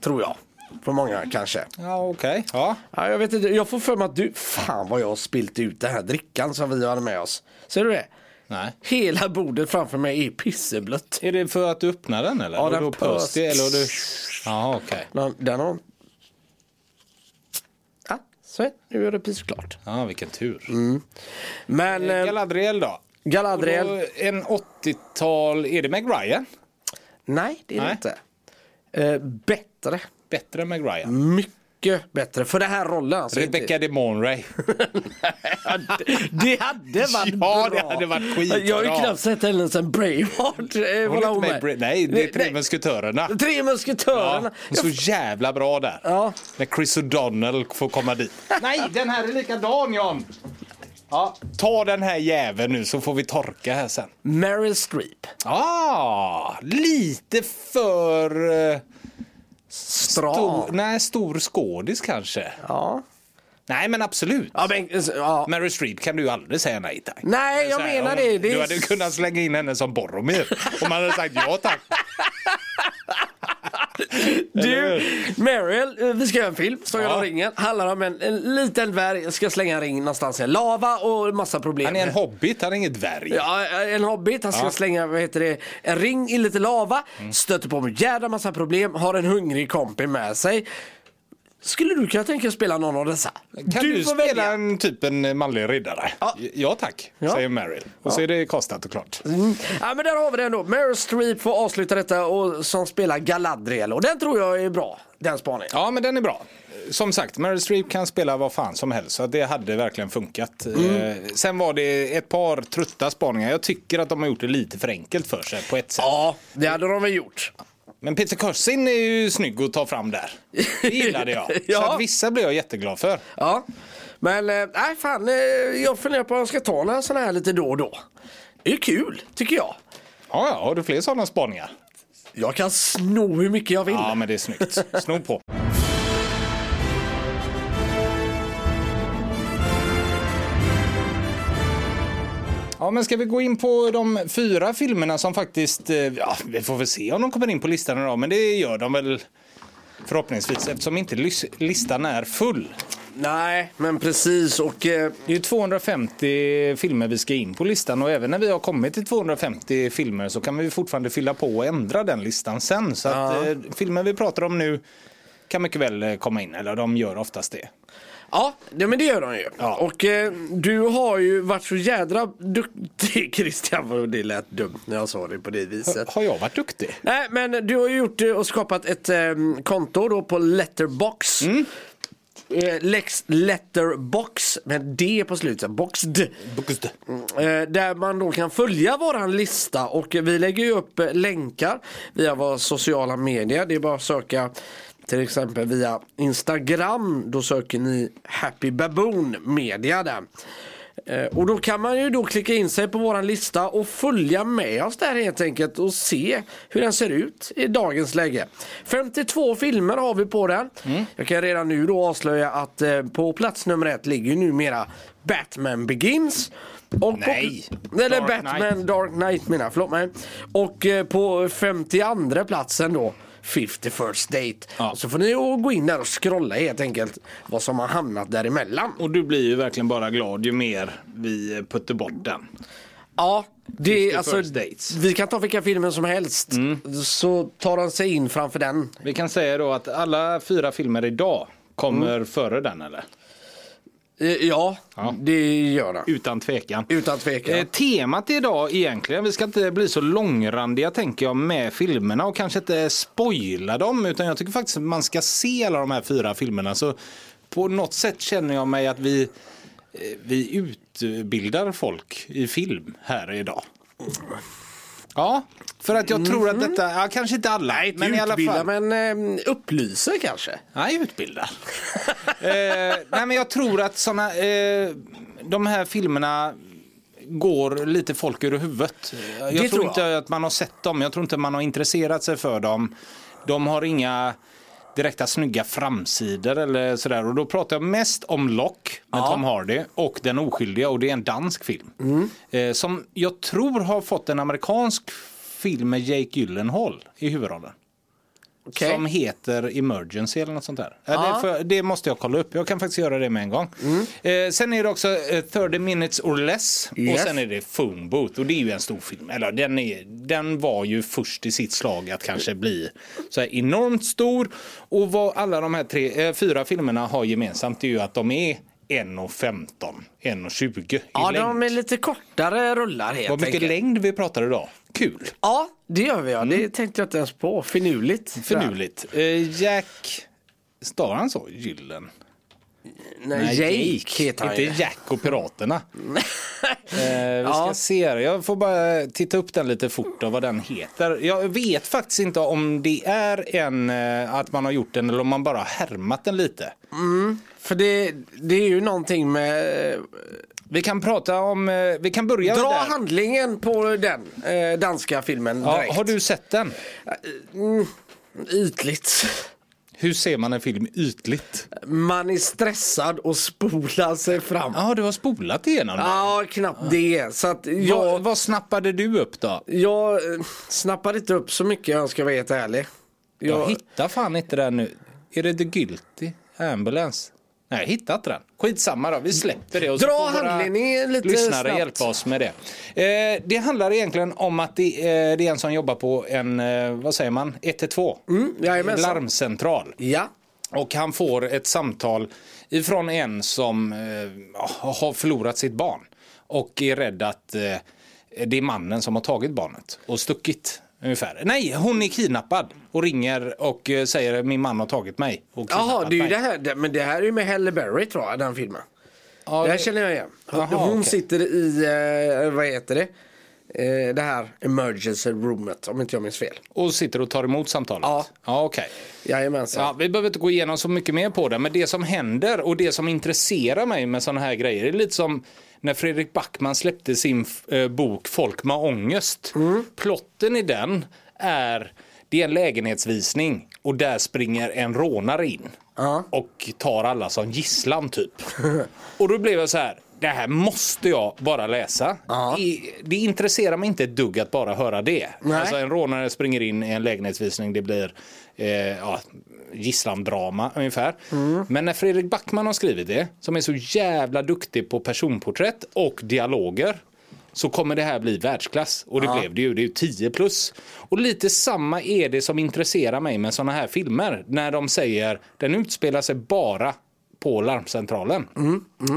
tror jag. För många kanske.
Ja okej. Ja.
Ja, jag vet inte, jag får för mig att du, fan vad jag har spilt ut den här drickan som vi hade med oss. Ser du det?
Nej.
Hela bordet framför mig är pisseblött.
Är det för att du öppnar den eller?
Ja,
och
den
då
pös.
pös det, eller och du... Ja okej.
Den, den har... Ja, så är det. nu är det pissklart.
Ja vilken tur.
Men eh,
Galadriel då?
Galadriel,
Och då En 80-tal, är det Meg Ryan?
nej det är det
Nej.
inte. Eh, bättre,
Bättre än Meg Ryan.
Mm, mycket bättre för den här rollen. Alltså,
Rebecca de Monray.
Det- Det hade varit
Ja,
bra.
det hade varit skitbra.
Jag har ju knappt sett henne sen Braveheart. eh,
Hon
vad
är inte
hon
med. i
är.
Bra- Nej, det är Tre
Nej,
Musketörerna.
Tre
Ja,
musketörerna.
hon är så jävla bra där.
Ja.
När Chris O'Donnell får komma dit. Nej, den här är likadan John! Ja, ta den här jäveln nu så får vi torka här sen.
Meryl Streep.
Ah, lite för... eh,
Stram.
Stor, nej, stor skådis kanske.
Ja.
Nej, men absolut.
Ja, men, eh, ja.
Meryl Streep kan du ju aldrig säga nej tack.
Nej, jag
Så här,
menar
om-
det. det
Du
är-
hade kunnat slänga in henne som Boromir om man hade sagt ja tack.
Du,
Eller
Meryl, eh, vi ska göra en film, Sagan
Ja.
om ringen. Handlar om en, en liten dvärg, ska slänga en ring någonstans i lava och massa problem.
Han är en hobbit, han är ingen dvärg.
Ja, eh, en hobbit, han ska
Ja. Mm.
slänga vad heter det, en ring i lite lava, stöter på en jävla massa problem, har en hungrig kompis med sig. Skulle du kunna tänka dig att spela någon av dessa?
Kan du, spela en typ en manlig riddare?
Ja.
ja tack,
Ja.
säger Meryl. Och så är det kastat och klart.
Mm. Ja men där har vi den då. Meryl Streep får avsluta detta och som spelar Galadriel och den tror jag är bra. Den spaningen.
Ja, men den är bra. Som sagt, Meryl Streep kan spela vad fan som helst. Så det hade verkligen funkat.
Mm.
Eh, Sen var det ett par trötta spaningar. Jag tycker att de har gjort det lite för enkelt för sig på ett sätt.
Ja, det hade de väl gjort.
Men Peter Cushing är ju snygg att ta fram där. Det gillade jag. Så
Ja.
att vissa blev jag jätteglad för.
Ja. Men eh, nej fan, eh, jag funderar på om jag ska ta några sådana här lite då och då. Det är kul, tycker jag.
Ja, ja, har du fler sådana spaningar?
Jag kan sno hur mycket jag vill.
Ja, men det är snyggt. Sno på. Ja, men ska vi gå in på de fyra filmerna som faktiskt, eh, ja, vi får väl se om de kommer in på listan idag, men det gör de väl förhoppningsvis eftersom inte lys- listan är full.
Nej, men precis och eh,
Det är ju 250 filmer vi ska in på listan och även när vi har kommit till 250 filmer så kan vi fortfarande fylla på och ändra den listan sen. Så att
Ja.
eh, filmer vi pratar om nu kan mycket väl eh, komma in, eller de gör oftast det.
ja, det, men det gör de ju.
Ja.
Och eh, du har ju varit så jädra duktig Christian, vad det lät dumt när jag sa det på det viset.
Har jag varit duktig?
Nej, men du har ju gjort eh, och skapat ett eh, konto då på Letterbox. Eh, Lex Letterbox med D på slutet, Boxd. Eh, Där man då kan följa våran lista och vi lägger ju upp eh, länkar via våra sociala medier. Det är bara att söka till exempel via Instagram. Då söker ni Happy Baboon Media där. Eh, Och då kan man ju då klicka in sig på våran lista och följa med oss där helt enkelt och se hur den ser ut i dagens läge. 52 filmer har vi på den. Jag kan redan nu då avslöja att eh, på plats nummer ett ligger ju numera Batman Begins. Och
Nej.
På, eller
Dark
Batman
Knight.
Dark Knight menar jag, förlåt mig. Och eh, på 52 platsen då 50 first date.
Ja.
Och Så får ni ju gå in där och scrolla helt enkelt vad som har hamnat däremellan.
Och du blir ju verkligen bara glad ju mer vi eh, puttar bort den.
Ja, det är
50
alltså,
first dates. Mm.
vi kan ta vilka filmer som helst. Så tar han sig in framför den.
Vi kan säga då att alla fyra filmer idag kommer före den, eller?
Eh, Ja, det gör han.
Utan tvekan.
Utan tvekan.
Eh, temat idag egentligen, vi ska inte bli så långrandiga tänker jag med filmerna och kanske inte spoila dem utan jag tycker faktiskt att man ska se alla de här fyra filmerna. Så på något sätt känner jag mig att vi, eh, vi utbildar folk i film här idag. Ja, för att jag tror att detta, ja, kanske inte alla,
Mhm. Nej, men utbilda, men eh, upplysa kanske.
Nej, utbilda. eh, nej, men jag tror att såna, eh, de här filmerna går lite folk ur huvudet. Jag tror,
tror jag.
inte att man har sett dem, jag tror inte man har intresserat sig för dem. De har inga direkta snygga framsidor eller sådär. Och då pratar jag mest om Lock med
Ja.
Tom Hardy och Den oskyldiga och det är en dansk film.
Mm.
Eh, som jag tror har fått en amerikansk film med Jake Gyllenhaal i huvudrollen.
Okej.
Som heter Emergency eller något sånt där. Ja, det, får- det måste jag kolla upp. Jag kan faktiskt göra det med en gång.
Mm.
Eh, sen är det också eh, 30 minutes or less.
Yes.
Och sen är det Phone Booth. Och det är ju en stor film. Eller den, är, den var ju först i sitt slag att kanske bli så här enormt stor. Och vad alla de här tre, eh, fyra filmerna har gemensamt är ju att de är 1.15, 1.20 i
Ja,
längd.
de är lite kortare rullar helt
Vad mycket
enkelt.
längd vi pratar idag. Kul!
Ja, det gör vi ja. Det tänkte jag inte ens på. Finurligt.
Mm. Finurligt. Eh, Jack... Stavar han så? Gyllen?
Nej,
Nej,
Jake, heter han
Inte
ju.
Jack och Piraterna. Eh, vi ska se. här. Jag får bara titta upp den lite fort och vad den heter. Jag vet faktiskt inte om det är en eh, att man har gjort den eller om man bara har härmat den lite.
För det, det är ju någonting med...
Vi kan prata om, eh, vi kan börja
Dra
där.
handlingen på den eh, danska filmen
Ja,
direkt.
har du sett den?
Ytligt.
Hur ser man en film ytligt?
Man är stressad och spolar sig fram. Ja,
Ja, du har spolat igenom den.
knappt det. Så att
Vad,
jag,
vad snappade du upp då?
jag eh, snappar inte upp så mycket jag ska vara helt ärlig.
Jag
Jag,
hittar fan inte den nu. Är det The Guilty Ambulance? Nej, jag hittar inte den. Skitsamma då, vi släpper det. Och så
Dra
får våra
handledningen lite
lyssnare
snabbt.
hjälpa oss med det. Eh, det handlar egentligen om att det, eh, det är en som jobbar på en, eh, vad säger man, 112.
Mm, jajamensan.
Larmcentral.
ja.
Och han får ett samtal ifrån en som eh, har förlorat sitt barn och är rädd att eh, det är mannen som har tagit barnet och stuckit. Ungefär. Nej, hon är kidnappad och ringer och eh, säger min man har tagit mig. Och
Jaha,
kidnappat
det är ju
mig.
det här. det- Men det här är ju med Halle Berry tror jag, den filmen.
Ja,
det här
det-
känner jag igen. Hon,
Jaha,
hon
okej.
sitter i, eh, vad heter det? Eh, det här emergency roomet, om inte jag minns fel.
Och sitter och tar emot samtalet?
Ja.
ja okej.
Jajamensan.
Ja, vi behöver inte gå igenom så mycket mer på det, men det som händer och det som intresserar mig med sådana här grejer, det är lite som när Fredrik Backman släppte sin eh, bok Folk med ångest.
Mm.
Plotten i den är, det är en lägenhetsvisning och där springer en rånare in
Ja.
och tar alla som gisslan typ. och då blev jag så här, det här måste jag bara läsa.
Ja.
I- Det intresserar mig inte ett dugg att bara höra det.
Nej.
Alltså en rånare springer in i en lägenhetsvisning, det blir eh, ja, gisslandrama ungefär. Men när Fredrik Backman har skrivit det, som är så jävla duktig på personporträtt och dialoger, så kommer det här bli världsklass. Och det blev det ju, det är ju 10 plus. Och lite samma är det som intresserar mig med sådana här filmer, när de säger den utspelar sig bara på larmcentralen.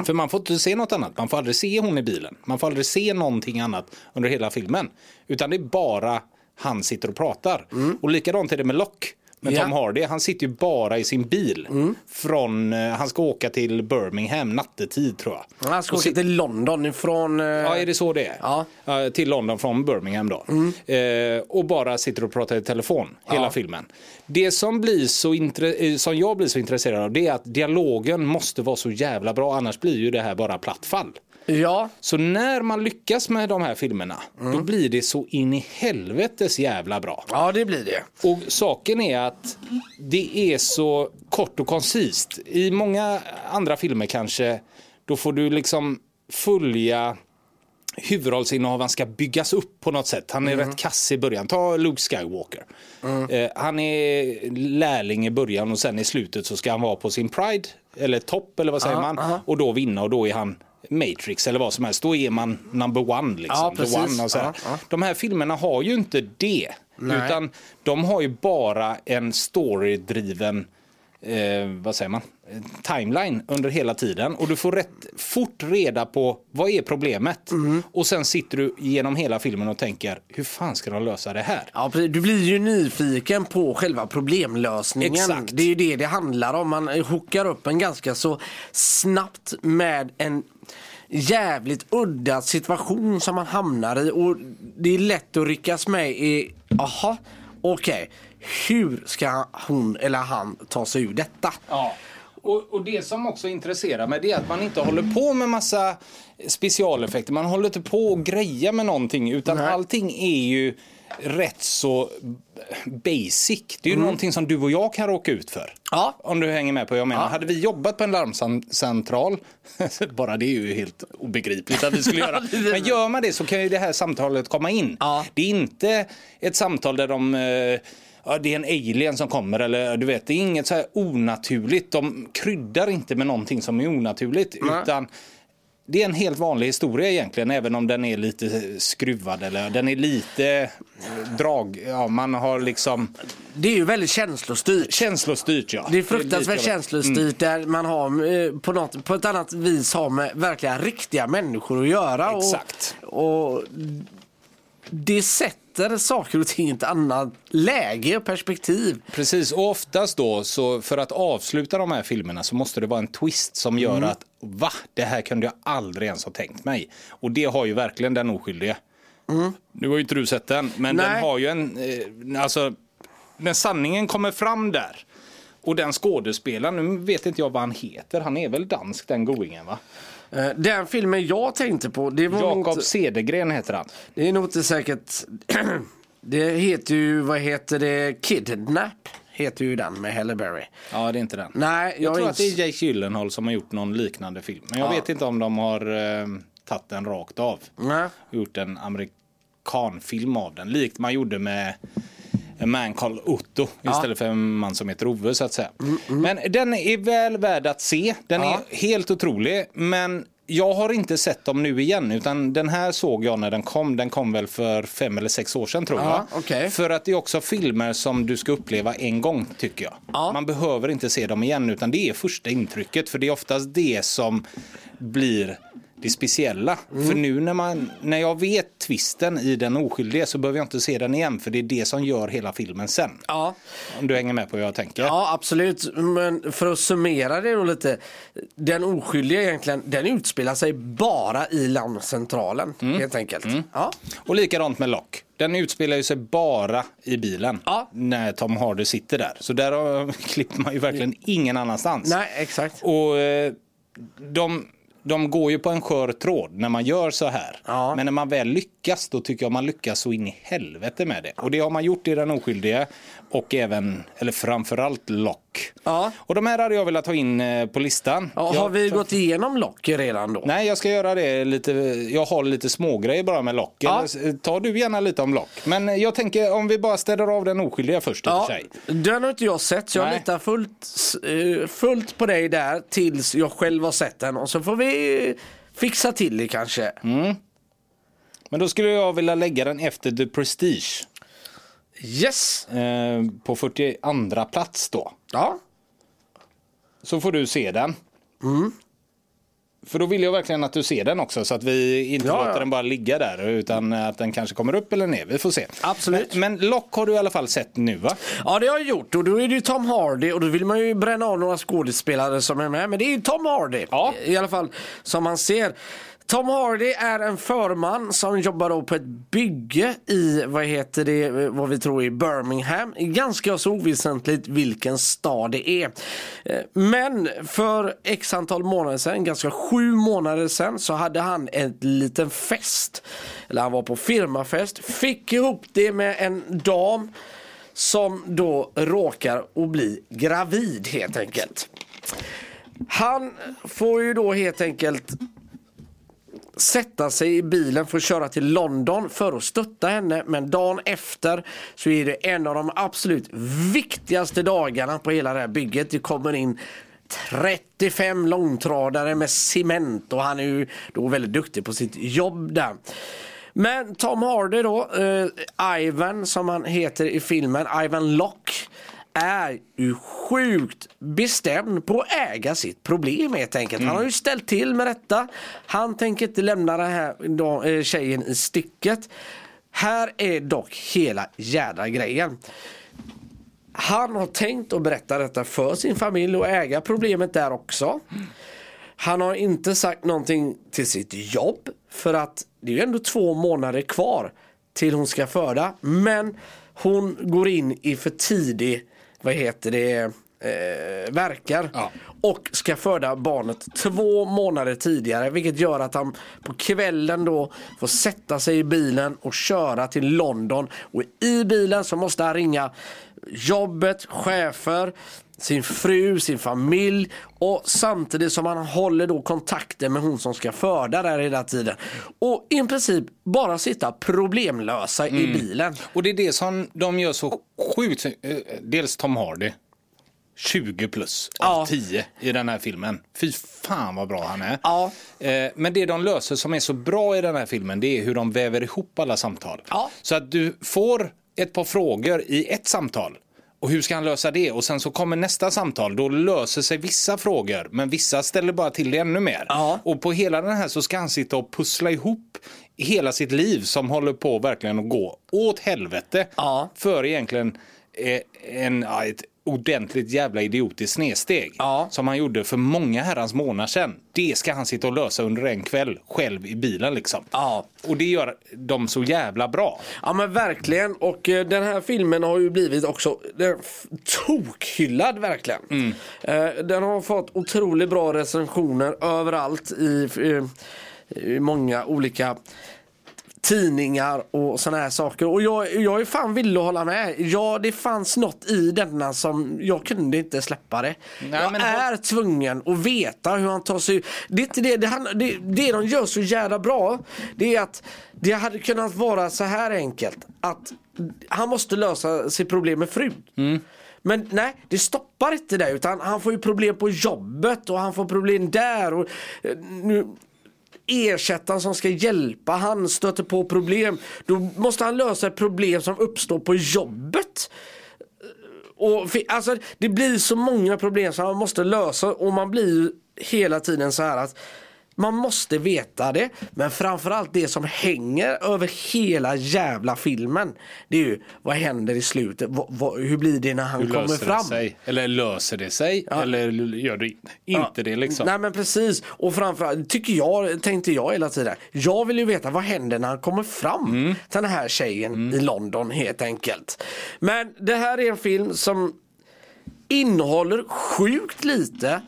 För man får inte se något annat. Man får aldrig se hon i bilen. Man får aldrig se någonting annat under hela filmen. Utan det är bara han sitter och pratar. Och likadant är det med Lock. Men
Ja.
Tom Hardy, han sitter ju bara i sin bil. Från, eh, han ska åka till Birmingham nattetid tror jag.
Han ska åka till London ifrån... eh,
Ja, är det så det är?
Ja.
Eh, Till London från Birmingham då. Eh, och bara sitter och pratar i telefon hela filmen. Det som, blir så intre- eh, som jag blir så intresserad av det är att dialogen måste vara så jävla bra annars blir ju det här bara platt fall.
ja.
Så när man lyckas med de här filmerna då blir det så in i helvetes jävla bra.
ja, det blir det.
Och saken är att det är så kort och koncist. I många andra filmer kanske, då får du liksom följa huvudrollsinnehavaren ska byggas upp på något sätt. Han är
Mm.
rätt kass i början. Ta Luke Skywalker. Eh, han är lärling i början och sen i slutet så ska han vara på sin pride, eller topp eller vad säger man, och då vinna och då är han Matrix eller vad som helst. Då är man number one. Liksom.
Ja,
The
precis.
one och så här.
Ja, ja.
De här filmerna har ju inte det.
Nej.
Utan de har ju bara en storydriven eh, vad säger man? eh, timeline under hela tiden. Och du får rätt fort reda på vad är problemet. Och sen sitter du genom hela filmen och tänker hur fan ska de lösa det här?
Ja, precis. du blir ju nyfiken på själva problemlösningen.
Exakt.
Det är ju det det handlar om. Man hookar upp en ganska så snabbt med en jävligt udda situation som man hamnar i. Och det är lätt att ryckas med i, aha, okej, hur ska hon eller han ta sig ur detta?
Ja. Och, och det som också intresserar mig det är att man inte håller på med massa specialeffekter. Man håller inte på och grejer med någonting utan allting är ju rätt så basic. Det är ju någonting som du och jag kan råka ut för.
Ja.
Om du hänger med på vad jag menar. Hade vi jobbat på en larmcentral, bara det är ju helt obegripligt att vi skulle göra. Men gör man det så kan ju det här samtalet komma in.
Ja.
Det är inte ett samtal där de eh, Ja, det är en alien som kommer eller du vet, det är inget så här onaturligt. De kryddar inte med någonting som är onaturligt utan det är en helt vanlig historia egentligen även om den är lite skruvad eller den är lite drag, ja man har liksom
Det är ju väldigt känslostyrt.
känslostyrt ja.
Det är
lite
fruktansvärt
jobbigt. Mm.
känslostyrt där man har eh, på, något, på ett annat vis har med verkliga riktiga människor att göra.
Exakt.
Och, och det sätter saker och ting i ett annat läge och perspektiv.
Precis, och oftast då så för att avsluta de här filmerna så måste det vara en twist som gör att va, det här kunde jag aldrig ens ha tänkt mig. Och det har ju verkligen den oskyldige. Nu har ju inte du sett den, men den
Nej.
har ju en, eh, alltså när sanningen kommer fram där och den skådespelaren, nu vet inte jag vad han heter, han är väl dansk den goingen va?
Eh, Den filmen jag tänkte på, det var nog
Jakob
inte-
Cedergren heter han.
Det är nog inte säkert. det heter ju, vad heter det, Kidnap heter ju den med Halle Berry.
Ja, det är inte den.
Nej,
Jag
jag,
tror
jag
att det är Jake Gyllenhaal som har gjort någon liknande film. Men jag
Ja.
vet inte om de har eh, tagit den rakt av.
Nej.
Gjort en amerikanfilm av den. Likt man gjorde med en man called Otto istället för en man som heter Ove så att säga. Men den är väl värd att se. Den
Mm, Ja.
är helt otrolig. Men jag har inte sett dem nu igen utan den här såg jag när den kom. Den kom väl för fem eller sex år sedan tror
Ja,
jag.
okej.
För att det är också filmer som du ska uppleva en gång tycker jag.
Ja.
Man behöver inte se dem igen utan det är första intrycket för det är oftast det som blir det speciella.
Mm.
För nu när, man, när jag vet twisten i Den oskyldige så behöver jag inte se den igen för det är det som gör hela filmen sen.
ja.
Om du hänger med på vad jag tänker.
ja, absolut. Men för att summera det då lite. Den oskyldiga egentligen, den utspelar sig bara i landcentralen
Mm.
helt enkelt. Ja.
Och likadant med Lock. Den utspelar ju sig bara i bilen
Ja.
när Tom Hardy sitter där. Så där har- klipper man ju verkligen ingen annanstans.
Nej, exakt.
Och eh, de, de går ju på en skör tråd när man gör så här.
Ja.
Men när man väl lyckas då tycker jag man lyckas så in i helvete med det. Och det har man gjort i Den oskyldige och även, eller framförallt Lock.
Ja.
Och de här hade jag velat ha in eh, på listan.
Ja,
Jag-
har vi gått igenom Lock redan då?
Nej, jag ska göra det lite. Jag har lite smågrejer bara med lock.
Ja.
Eller, eh, Ta du gärna lite om lock. Men eh, jag tänker om vi bara städar av den oskyldiga först i och för
Ja,
sig.
den har inte jag sett så jag
Nej.
litar fullt, eh, fullt på dig där tills jag själv har sett den och så får vi fixa till det kanske.
Mm. Men då skulle jag vilja lägga den efter The Prestige.
Yes!
Eh, på 42 plats då.
Ja.
Så får du se den.
Mm.
För då vill jag verkligen att du ser den också så att vi inte
Ja,
låter
ja.
den bara ligga där utan att den kanske kommer upp eller ner. Vi får se.
Absolut.
Men, men Lock har du i alla fall sett nu va?
ja, det har jag gjort och då är det ju Tom Hardy och då vill man ju bränna av några skådespelare som är med. Men det är ju Tom Hardy
Ja.
i alla fall som man ser. Tom Hardy är en förman som jobbar då på ett bygge i vad heter det, vad vi tror är Birmingham. Ganska så oväsentligt vilken stad det är. Eh, Men för x antal månader sedan, ganska sju månader sedan, så hade han en liten fest. Eller han var på firmafest, fick ihop det med en dam som då råkar att bli gravid helt enkelt. Han får ju då helt enkelt sätta sig i bilen för att köra till London för att stötta henne. Men dagen efter så är det en av de absolut viktigaste dagarna på hela det här bygget. Det kommer in 35 långtradare med cement och han är ju då väldigt duktig på sitt jobb där. Men Tom Hardy då, eh, Ivan som han heter i filmen, Ivan Locke är ju sjukt bestämd på att äga sitt problem helt enkelt. Han har ju ställt till med detta. Han tänker inte lämna den här då, eh, tjejen i sticket. Här är dock hela jädra grejen. Han har tänkt att berätta detta för sin familj och äga problemet där också. Han har inte sagt någonting till sitt jobb för att det är ju ändå två månader kvar till hon ska föda. Men hon går in i för tidig, vad heter det, eh, verkar.
Ja.
Och ska föda barnet två månader tidigare. Vilket gör att han på kvällen då får sätta sig i bilen och köra till London. Och i bilen så måste han ringa jobbet, chefer, sin fru, sin familj och samtidigt som han håller då kontakten med hon som ska föda där hela tiden. Och i princip bara sitta problemlösa i bilen.
Och det är det som de gör så sjukt. eh, Dels Tom Hardy. 20 plus av
Ja.
10 i den här filmen. Fy fan vad bra han är.
Ja.
Eh, Men det de löser som är så bra i den här filmen det är hur de väver ihop alla samtal.
Ja.
Så att du får ett par frågor i ett samtal. Och hur ska han lösa det? Och sen så kommer nästa samtal. Då löser sig vissa frågor men vissa ställer bara till det ännu mer.
Ja.
Och på hela den här så ska han sitta och pussla ihop hela sitt liv som håller på verkligen att gå åt helvete.
Ja.
För egentligen eh, en, ja, ett ordentligt jävla idiotiskt snedsteg.
Ja.
Som han gjorde för många herrans månader sedan. Det ska han sitta och lösa under en kväll själv i bilen liksom.
Ja.
Och det gör de så jävla bra.
Ja men verkligen och eh, den här filmen har ju blivit också den är f- tokhyllad verkligen. Eh, Den har fått otroligt bra recensioner överallt i, eh, i många olika tidningar och sådana här saker. Och jag, jag är fan villig att hålla med. Ja, det fanns något i denna som jag kunde inte släppa det.
Nej,
jag
men-
är tvungen att veta hur han tar sig ut. Det är inte det, det, handlar- det, det de gör så jävla bra, det är att det hade kunnat vara så här enkelt. Att han måste lösa sitt problem med frun.
Mm.
Men nej, det stoppar inte det utan han får ju problem på jobbet och han får problem där. Och, eh, nu, ersättaren som ska hjälpa han stöter på problem. Då måste han lösa ett problem som uppstår på jobbet. Och, fi- alltså, det blir så många problem som man måste lösa och man blir ju hela tiden så här att man måste veta det men framförallt det som hänger över hela jävla filmen. Det är ju vad händer i slutet? Vad- vad- hur blir det när han kommer
löser
fram?
det sig? Eller löser det sig? Eller gör det inte det liksom?
Nej men precis. Och framförallt tycker jag, tänkte jag hela tiden. Jag vill ju veta vad händer när han kommer fram
Mm.
till den här tjejen i London helt enkelt. Men det här är en film som innehåller sjukt lite.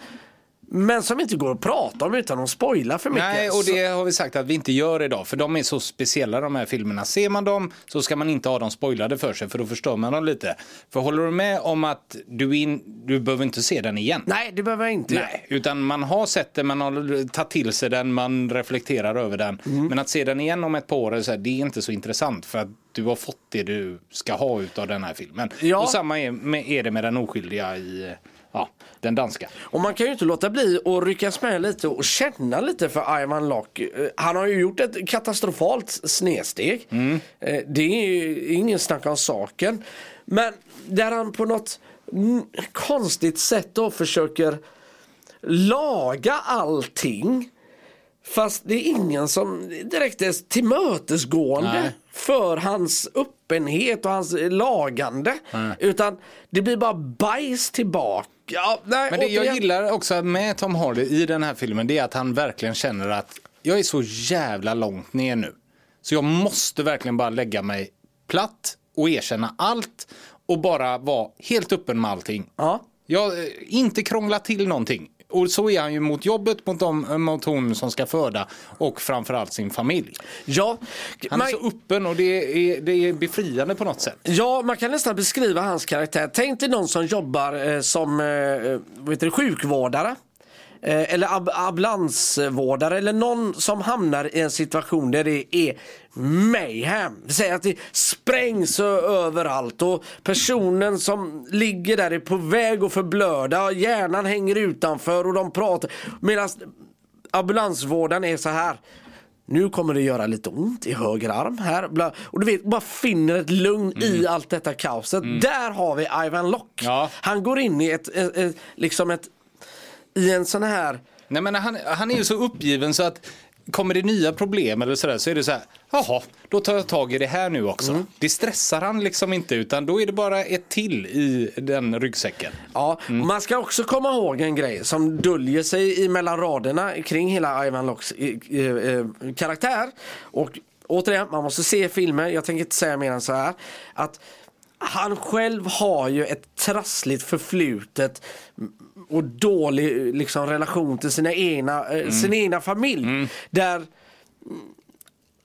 Men som inte går att prata om utan att spoila för mycket.
Nej, och
Så-
det har vi sagt att vi inte gör idag, för de är så speciella de här filmerna. Ser man dem så ska man inte ha dem spoilade för sig, för då förstör man dem lite. För håller du med om att du, in, du behöver inte se den igen?
Nej det behöver jag inte göra.
Nej, utan man har sett den, man har tagit till sig den, man reflekterar över den.
Mm.
Men att se den igen om ett par år, är så här, det är inte så intressant för att du har fått det du ska ha utav den här filmen.
Ja.
Och samma är, med, är det med den oskyldiga i ja, den danska.
Och man kan ju inte låta bli att ryckas med lite och känna lite för Ivan Locke. Eh, Han har ju gjort ett katastrofalt snedsteg. Eh, Det är ju ingen snack om saken. Men där han på något n- konstigt sätt då försöker laga allting. Fast det är ingen som direkt är tillmötesgående
Nej.
för hans öppenhet och hans lagande. Utan det blir bara bajs tillbaka. Ja, nej,
Men det jag
återigen-
gillar också med Tom Hardy i den här filmen det är att han verkligen känner att jag är så jävla långt ner nu. Så jag måste verkligen bara lägga mig platt och erkänna allt och bara vara helt öppen med allting.
Ja.
Jag, eh, inte krångla till någonting. Och så är han ju mot jobbet, mot, dem, eh, mot hon som ska föda och framförallt sin familj.
Ja,
Han
man,
är så öppen och det är, det är befriande på något sätt.
ja, man kan nästan beskriva hans karaktär. Tänk dig någon som jobbar eh, som eh, eh, vad heter det, sjukvårdare. Eh, eller ab- ambulansvårdare eller någon som hamnar i en situation där det är mayhem. Vi säger att det sprängs ö- överallt och personen som ligger där är på väg att förblöda. och Hjärnan hänger utanför och de pratar. Medan ambulansvården är så här. Nu kommer det göra lite ont i höger arm här. Bla. Och du vet, bara finner ett lugn i allt detta kaoset. Där har vi Ivan Locke.
Ja.
Han går in i ett, ett, ett, liksom ett, i en sån här
Nej, men han, han är ju så uppgiven så att kommer det nya problem eller sådär så är det så här, jaha, då tar jag tag i det här nu också. Det stressar han liksom inte utan då är det bara ett till i den ryggsäcken.
Ja, Man ska också komma ihåg en grej som döljer sig i mellan raderna kring hela Ivan Locks eh, eh, karaktär. Och återigen, man måste se filmer. Jag tänker inte säga mer än så här. Att Han själv har ju ett trassligt förflutet och dålig liksom, relation till sina egna, eh, sin egna familj. Där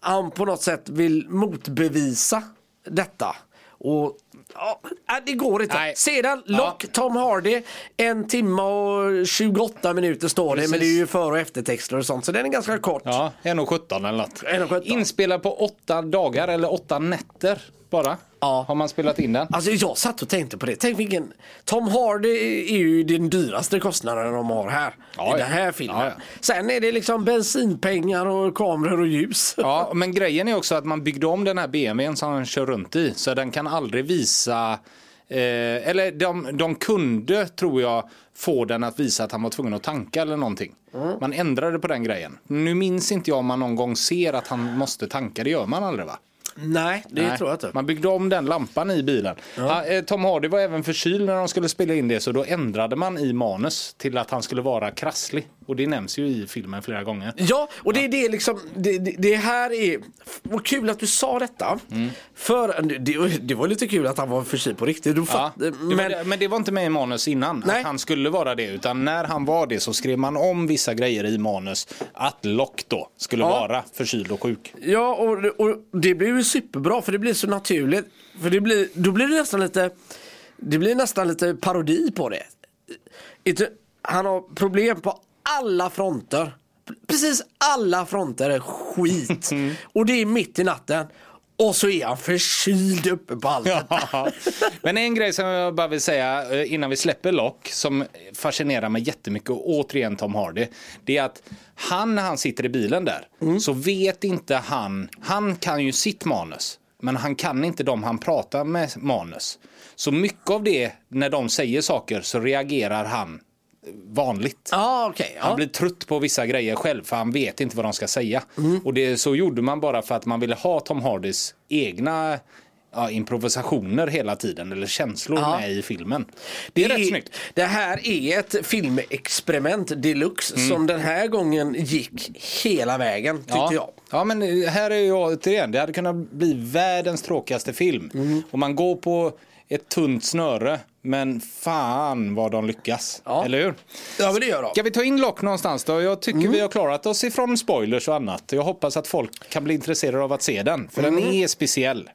han på något sätt vill motbevisa detta. Och ja, äh, det går inte.
Nej.
Sedan lock
Ja.
Tom Hardy. En timme och 28 minuter står det. Men det är ju före och eftertexter och sånt. Så den är ganska kort.
Ja, 1,17 eller något.
1,17.
Inspelad på åtta dagar eller åtta nätter bara.
Ja.
Har man spelat in den.
Alltså jag satt och tänkte på det. Tänk vilken... Tom Hardy är ju den dyraste kostnaden de har här.
Ja,
I
ja.
den här filmen.
Ja, ja.
Sen är det liksom bensinpengar och kameror och ljus.
Ja, men grejen är också att man byggde om den här BMWn som han kör runt i. Så den kan aldrig visa... Eh, eller de, de kunde, tror jag, få den att visa att han var tvungen att tanka eller någonting.
Mm.
Man ändrade på den grejen. Nu minns inte jag om man någon gång ser att han måste tanka. Det gör man aldrig va?
Nej, det
Nej,
tror jag inte.
Man byggde om den lampan i bilen. Ja, eh, Tom Hardy var även förkyld när de skulle spela in det så då ändrade man i manus till att han skulle vara krasslig. Och det nämns ju i filmen flera gånger.
Ja, och det är det liksom, det, det, det här är, f- vad kul att du sa detta.
Mm.
För det, det var lite kul att han var förkyld på riktigt. Du
Ja,
fatt,
det var,
men,
men, men det var inte med i manus innan
Nej.
att han skulle vara det utan när han var det så skrev man om vissa grejer i manus att Lock då skulle
Ja.
vara förkyld och sjuk.
ja, och, och det blir ju superbra för det blir så naturligt. För det blir, då blir det nästan lite, det blir nästan lite parodi på det. Inte- Han har problem på alla fronter. Precis alla fronter är skit.
Mm.
och det är mitt i natten. Och så är han förkyld uppe på allt detta.
Ja. Men en grej som jag bara vill säga eh, innan vi släpper Lock som fascinerar mig jättemycket och återigen Tom Hardy. Det är att han när han sitter i bilen där så vet inte han. Han kan ju sitt manus men han kan inte de han pratar med manus. Så mycket av det när de säger saker så reagerar han eh, vanligt.
Ja, okej.
Han
ja.
blir trött på vissa grejer själv för han vet inte vad de ska säga.
Mm.
Och det, så gjorde man bara för att man ville ha Tom Hardys egna ja, improvisationer hela tiden eller känslor
Ja.
med i filmen. Det är rätt snyggt.
Det här är ett filmexperiment deluxe
Mm.
som den här gången gick hela vägen tyckte jag.
Ja. ja, men eh, här är jag återigen, det hade kunnat bli världens tråkigaste film.
Mm.
Och man går på ett tunt snöre, men fan vad de lyckas.
Ja.
Eller hur?
Ja, men det gör de.
Ska vi ta in Lock någonstans då? Jag tycker vi har klarat oss ifrån spoilers och annat. Jag hoppas att folk kan bli intresserade av att se den, för den är speciell.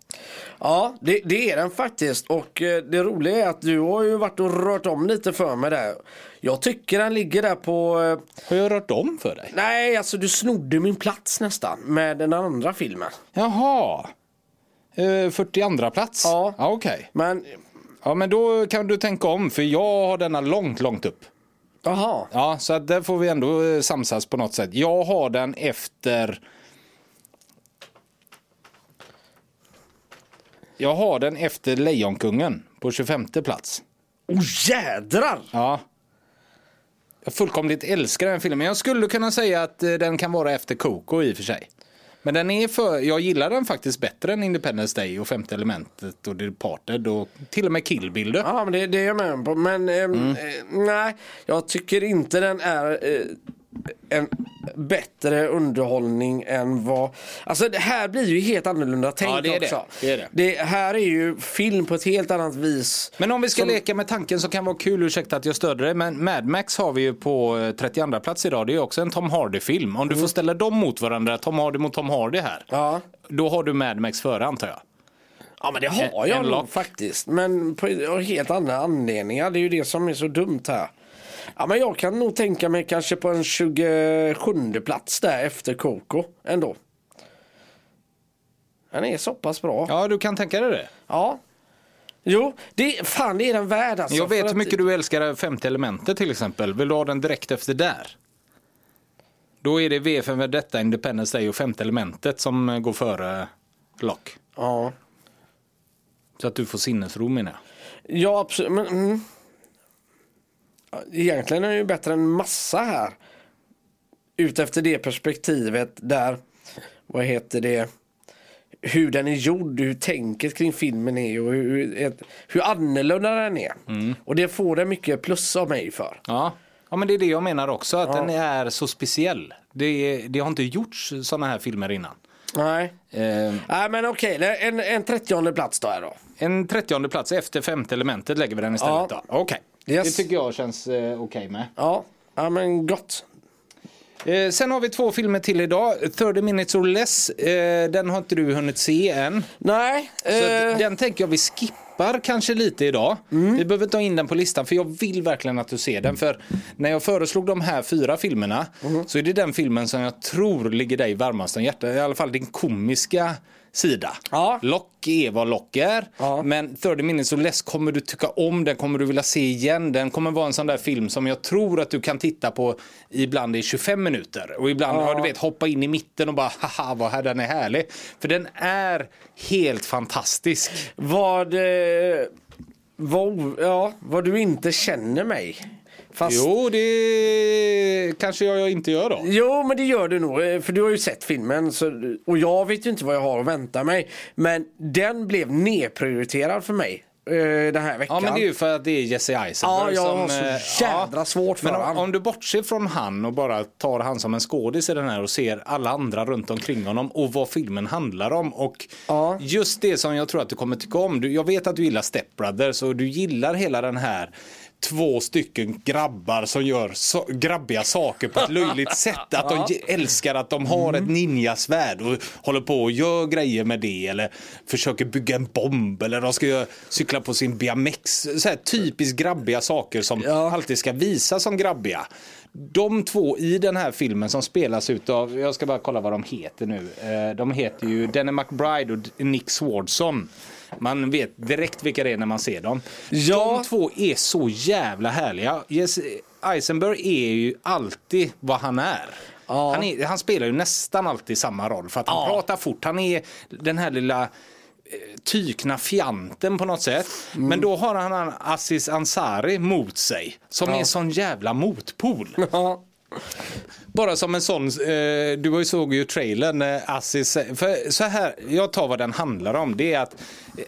Ja, det, det är den faktiskt. Och eh, det roliga är att du har ju varit och rört om lite för mig där. Jag tycker den ligger där på... eh,
Har jag rört om för dig?
Nej, alltså du snodde min plats nästan med den andra filmen.
Jaha. Eh, 42 plats?
Ja.
ja Okej.
Men,
Ja, men då kan du tänka om, för jag har denna långt, långt upp.
jaha.
Ja, så att där får vi ändå eh, samsas på något sätt. Jag har den efter... Jag har den efter Lejonkungen på 25 plats.
Oh jädrar!
Ja. Jag fullkomligt älskar den filmen. Jag skulle kunna säga att eh, den kan vara efter Coco i och för sig. Men den är för, jag gillar den faktiskt bättre än Independence Day och Femte Elementet och Departed och till och med Kill Bill. du.
Ja, men det, det är jag med på. Men ehm,
Mm.
eh, nej, jag tycker inte den är eh, en bättre underhållning än vad... Alltså det här blir ju helt annorlunda tänkt
det är det.
också.
Det är det.
här är ju film på ett helt annat vis.
Men om vi ska leka med tanken som kan vara kul, ursäkta att jag störde dig, men Mad Max har vi ju på eh, 32 plats idag. Det är ju också en Tom Hardy-film. Om du får ställa dem mot varandra, Tom Hardy mot Tom Hardy här,
Ja.
då har du Mad Max före antar jag.
Ja men det har
En-
jag
en
nog
lock.
faktiskt. Men på av helt andra anledningar. Det är ju det som är så dumt här. Ja men jag kan nog tänka mig kanske på en 27 plats där efter Coco ändå. Den är så pass bra.
Ja, du kan tänka dig det.
Ja. Jo, det, fan det är den värd alltså.
Jag
För
vet
att-
hur mycket du älskar Femte elementet till exempel. Vill du ha den direkt efter där? Då är det V för detta, Independence Day och Femte elementet som eh, går före Lock.
Ja.
Så att du får sinnesro menar jag.
ja, absolut. Men, mm. Ja, Egentligen är den ju bättre än massa här. Utefter det perspektivet där, vad heter det, hur den är gjord, hur tänket kring filmen är och hur, ett- hur annorlunda den är.
Mm.
Och det får den mycket plus av mig för.
Ja. ja, men det är det jag menar också, att den är så speciell. Det, det har inte gjorts sådana här filmer innan.
Nej.
Eh,
Nej men okej, en, en 30 plats då här då.
en trettionde plats efter femte elementet lägger vi den istället.
Ja.
då. Okej.
Yes.
Det tycker jag känns eh, okej med.
Ja, ja men gott.
Eh, sen har vi två filmer till idag. 30 minutes or less. Eh, den har inte du hunnit se än.
Nej,
Så
eh, Mm.
att den tänker jag vi skippar kanske lite idag. Vi behöver ta in den på listan för jag vill verkligen att du ser den. För när jag föreslog de här fyra filmerna
Mhm.
så är det den filmen som jag tror ligger dig varmast om hjärtat. I alla fall din komiska sida.
Ja.
Lock är vad lock är.
Ja.
Men 30 minutes or less kommer du tycka om, den kommer du vilja se igen. Den kommer vara en sån där film som jag tror att du kan titta på ibland i 25 minuter. Och ibland, ja. du vet, hoppa in i mitten och bara haha vad här den är härlig. För den är helt fantastisk.
vad, eh, vad, ja, vad du inte känner mig. Fast, jo.
Jo, det kanske jag inte gör då.
men det gör du nog. eh, För du har ju sett filmen. Så, och jag vet ju inte vad jag har att vänta mig. Men den blev nedprioriterad för mig. Eh, den här
Ja
veckan.
men det är ju för att det är Jesse Eisenberg
Ja, jag
som...
har så
eh,
jädra svårt för
men om,
han.
om du bortser från han och bara tar han som en skådis i den här och ser alla andra runt omkring honom och vad filmen handlar om och
Ja.
just det som jag tror att du kommer tycka om. Du, jag vet att du gillar Step Brothers och du gillar hela den här två stycken grabbar som gör så, grabbiga saker på ett löjligt sätt. Att de ge- älskar att de har
Mm.
ett ninjasvärd och håller på och gör grejer med det eller försöker bygga en bomb eller de ska göra- cykla på sin BMX. Så här typiskt grabbiga saker som
Ja.
alltid ska visas som grabbiga. De två i den här filmen som spelas utav, jag ska bara kolla vad de heter nu. Eh, De heter ju Danny McBride och D- Nick Swardson. Man vet direkt vilka det är när man ser dem.
Ja.
De två är så jävla härliga. Jesse Eisenberg är ju alltid vad han är.
Ja.
Han, är, han spelar ju nästan alltid samma roll för att han
Ja.
pratar fort. Han är den här lilla tykna fjanten på något sätt. Men då har han en Aziz Ansari mot sig som är sån jävla motpol.
Ja.
Bara som en sån, eh, du har ju såg ju trailern, eh, Aziz, för så här, jag tar vad den handlar om, det är att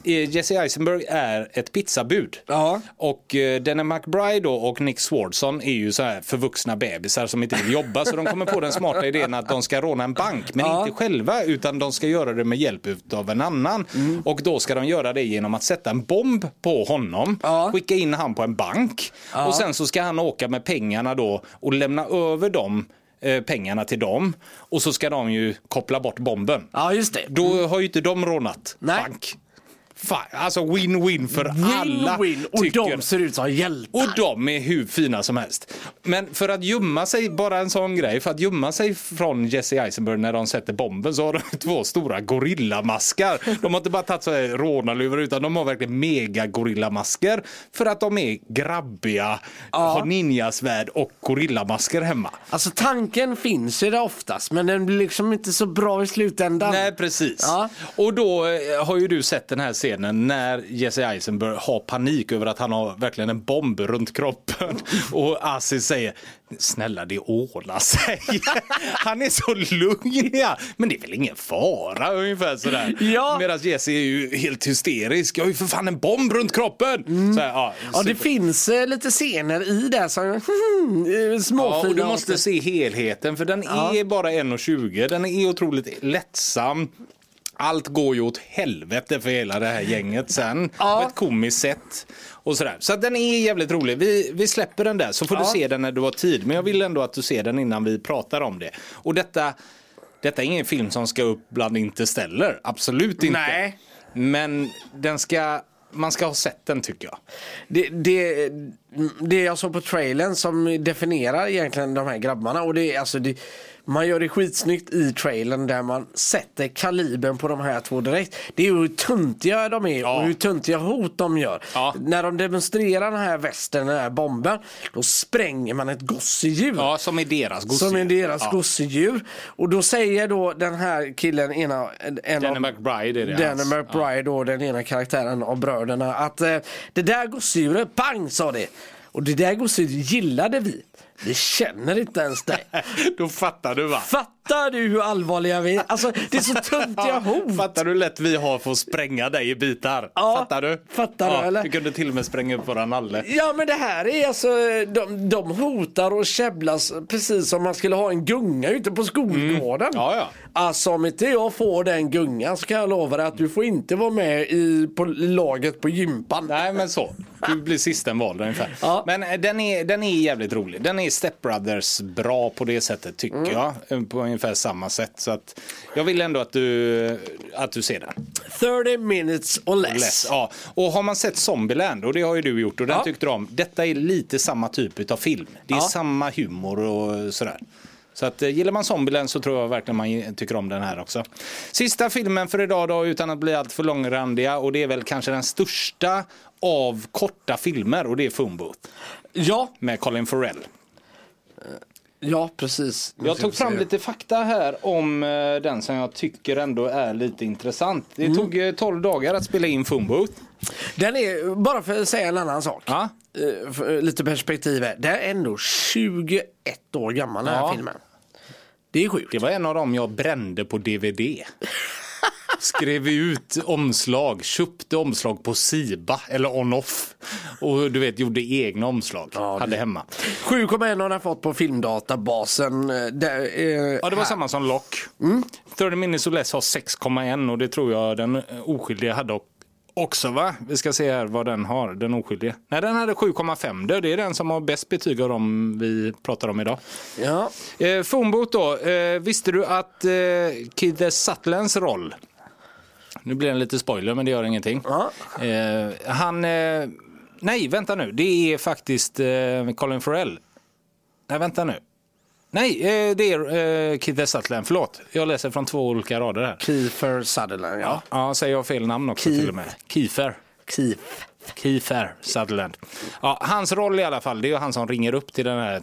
eh, Jesse Eisenberg är ett pizzabud.
Ja.
Och eh, Danny McBride då och Nick Swardson är ju så här förvuxna bebisar som inte vill jobba så de kommer på den smarta idén att de ska råna en bank men
Ja.
inte själva utan de ska göra det med hjälp av en annan.
Mm.
Och då ska de göra det genom att sätta en bomb på honom,
Ja.
skicka in han på en bank och sen så ska han åka med pengarna då och lämna över dem eh, pengarna till dem och så ska de ju koppla bort bomben.
ja, just det.
Då har ju inte de rånat
Nej.
bank. Fan, alltså win-win för alla.
Win-win. Och
tycker-
de ser ut som hjältar.
och de är hur fina som helst. Men för att gömma sig, bara en sån grej, för att gömma sig från Jesse Eisenberg när de sätter bomben så har de två stora gorillamaskar. De har inte bara tagit så här rånarluvor utan de har verkligen mega gorillamasker för att de är grabbiga, har ninjasvärd och gorillamasker hemma.
Alltså tanken finns ju där oftast men den blir liksom inte så bra i slutändan.
Nej, precis.
Ja.
Och då eh, har ju du sett den här scenen när Jesse Eisenberg har panik över att han har verkligen en bomb runt kroppen. Och Aziz säger Snälla det ordnar sig. Han är så lugn. Ja. Men det är väl ingen fara ungefär sådär.
Ja.
Medan Jesse är ju helt hysterisk. Jag har ju för fan en bomb runt kroppen. Så här, ja,
Mm. Ja, det
super-
finns eh, lite scener i det som eh, småfina.
Ja, och du måste
också.
se helheten för den är bara 1,20. Den är otroligt lättsam. Allt går ju åt helvete för hela det här gänget sen.
Ja.
På ett komiskt sätt. Och sådär. Så att den är jävligt rolig. Vi, vi släpper den där så får du
Ja.
se den när du har tid. Men jag vill ändå att du ser den innan vi pratar om det. Och detta, detta är ingen film som ska upp bland Interstellar. Absolut inte.
Nej.
Men den ska, man ska ha sett den tycker jag.
det, det, det jag såg på trailern som definierar egentligen de här grabbarna och det är alltså det, man gör det skitsnyggt i trailern där man sätter kalibern på de här två direkt. Det är ju hur tuntiga de är
Ja.
och hur tuntiga hot de gör.
Ja.
När de demonstrerar den här västen, den här bomben, då spränger man ett gosedjur.
Ja, som är deras gosse.
Som är deras
Ja.
gosedjur. Och då säger då den här killen, ena, en
Danny
av
McBride är det. alltså.
Danny
hans.
McBride då, den ena karaktären av bröderna. Att eh, det där gosedjuret, pang sa det. Och det där gosedjuret gillade vi. Vi känner inte ens dig.
Då fattar du va?
Fattar du hur allvarliga vi är? Alltså det är så töntiga hot.
Fattar du hur lätt vi har för att spränga dig i bitar?
Ja,
fattar du?
fattar du, eller?
Du kunde till och med spränga upp våran nalle.
Ja men det här är alltså, de, de hotar och käbblas precis som man skulle ha en gunga ute på skolgården.
Mm. Ja, ja.
Alltså om inte jag får den gungan så kan jag lova dig att du får inte vara med i på, laget på gympan.
Nej men så, du blir sist den valde ungefär.
Ja.
Men eh, den är, den är jävligt rolig. Den är Step Brothers bra på det sättet tycker
Mm.
jag. Eh, På ungefär samma sätt. Så att jag vill ändå att du, eh, att du ser den.
30 minutes or less.
Less, ja. Och har man sett Zombieland, och det har ju du gjort och den
Ja.
tyckte du om. Detta är lite samma typ av film. Det är
Ja.
samma humor och sådär. Så att, eh, gillar man Zombieland så tror jag verkligen man ge- tycker om den här också. Sista filmen för idag då, utan att bli allt för långrandiga. Och det är väl kanske den största av korta filmer och det är Phone Booth
Ja,
med Colin Farrell.
ja precis. Nu
Jag
ska
tog
vi se.
fram lite fakta här om eh, den som jag tycker ändå är lite intressant. Det
Mm.
tog eh, 12 dagar att spela in Phone Booth.
Den är, bara för att säga en annan sak.
Ja.
Eh, för- Lite perspektiv här. Den är ändå 21 år gammal den här
Ja.
filmen. Det är sjukt.
Det var en av dem jag brände på DVD. Skrev ut omslag, köpte omslag på Siba eller On-Off. Och du vet, gjorde egna omslag.
det-
Hade hemma.
7,1 har den fått på filmdatabasen. eh, Där, eh,
Ja, det var
här. Mm.
samma som Lock. 30 Minutes or Less har 6,1 och det tror jag den eh, oskyldige hade o- också va? Vi ska se här vad den har, den oskyldige. Nej, den hade 7,5. Det det är den som har bäst betyg av dem vi pratar om idag.
Ja.
Eh, Fornbot då, eh, visste du att eh, Kid Sutlands roll, nu blir det en lite spoiler men det gör ingenting.
Ja.
Eh, han, eh, nej vänta nu, det är faktiskt eh, Colin Farrell. Nej vänta nu. Nej, eh, det är eh, Kid Sutland, förlåt. Jag läser från två olika rader här.
Kiefer Sutherland, ja.
Ja, säger jag fel namn också
Keith.
till och med. Kiefer.
Keith.
Kiefer Sutherland. Ja, hans roll i alla fall, det är ju han som ringer upp till den här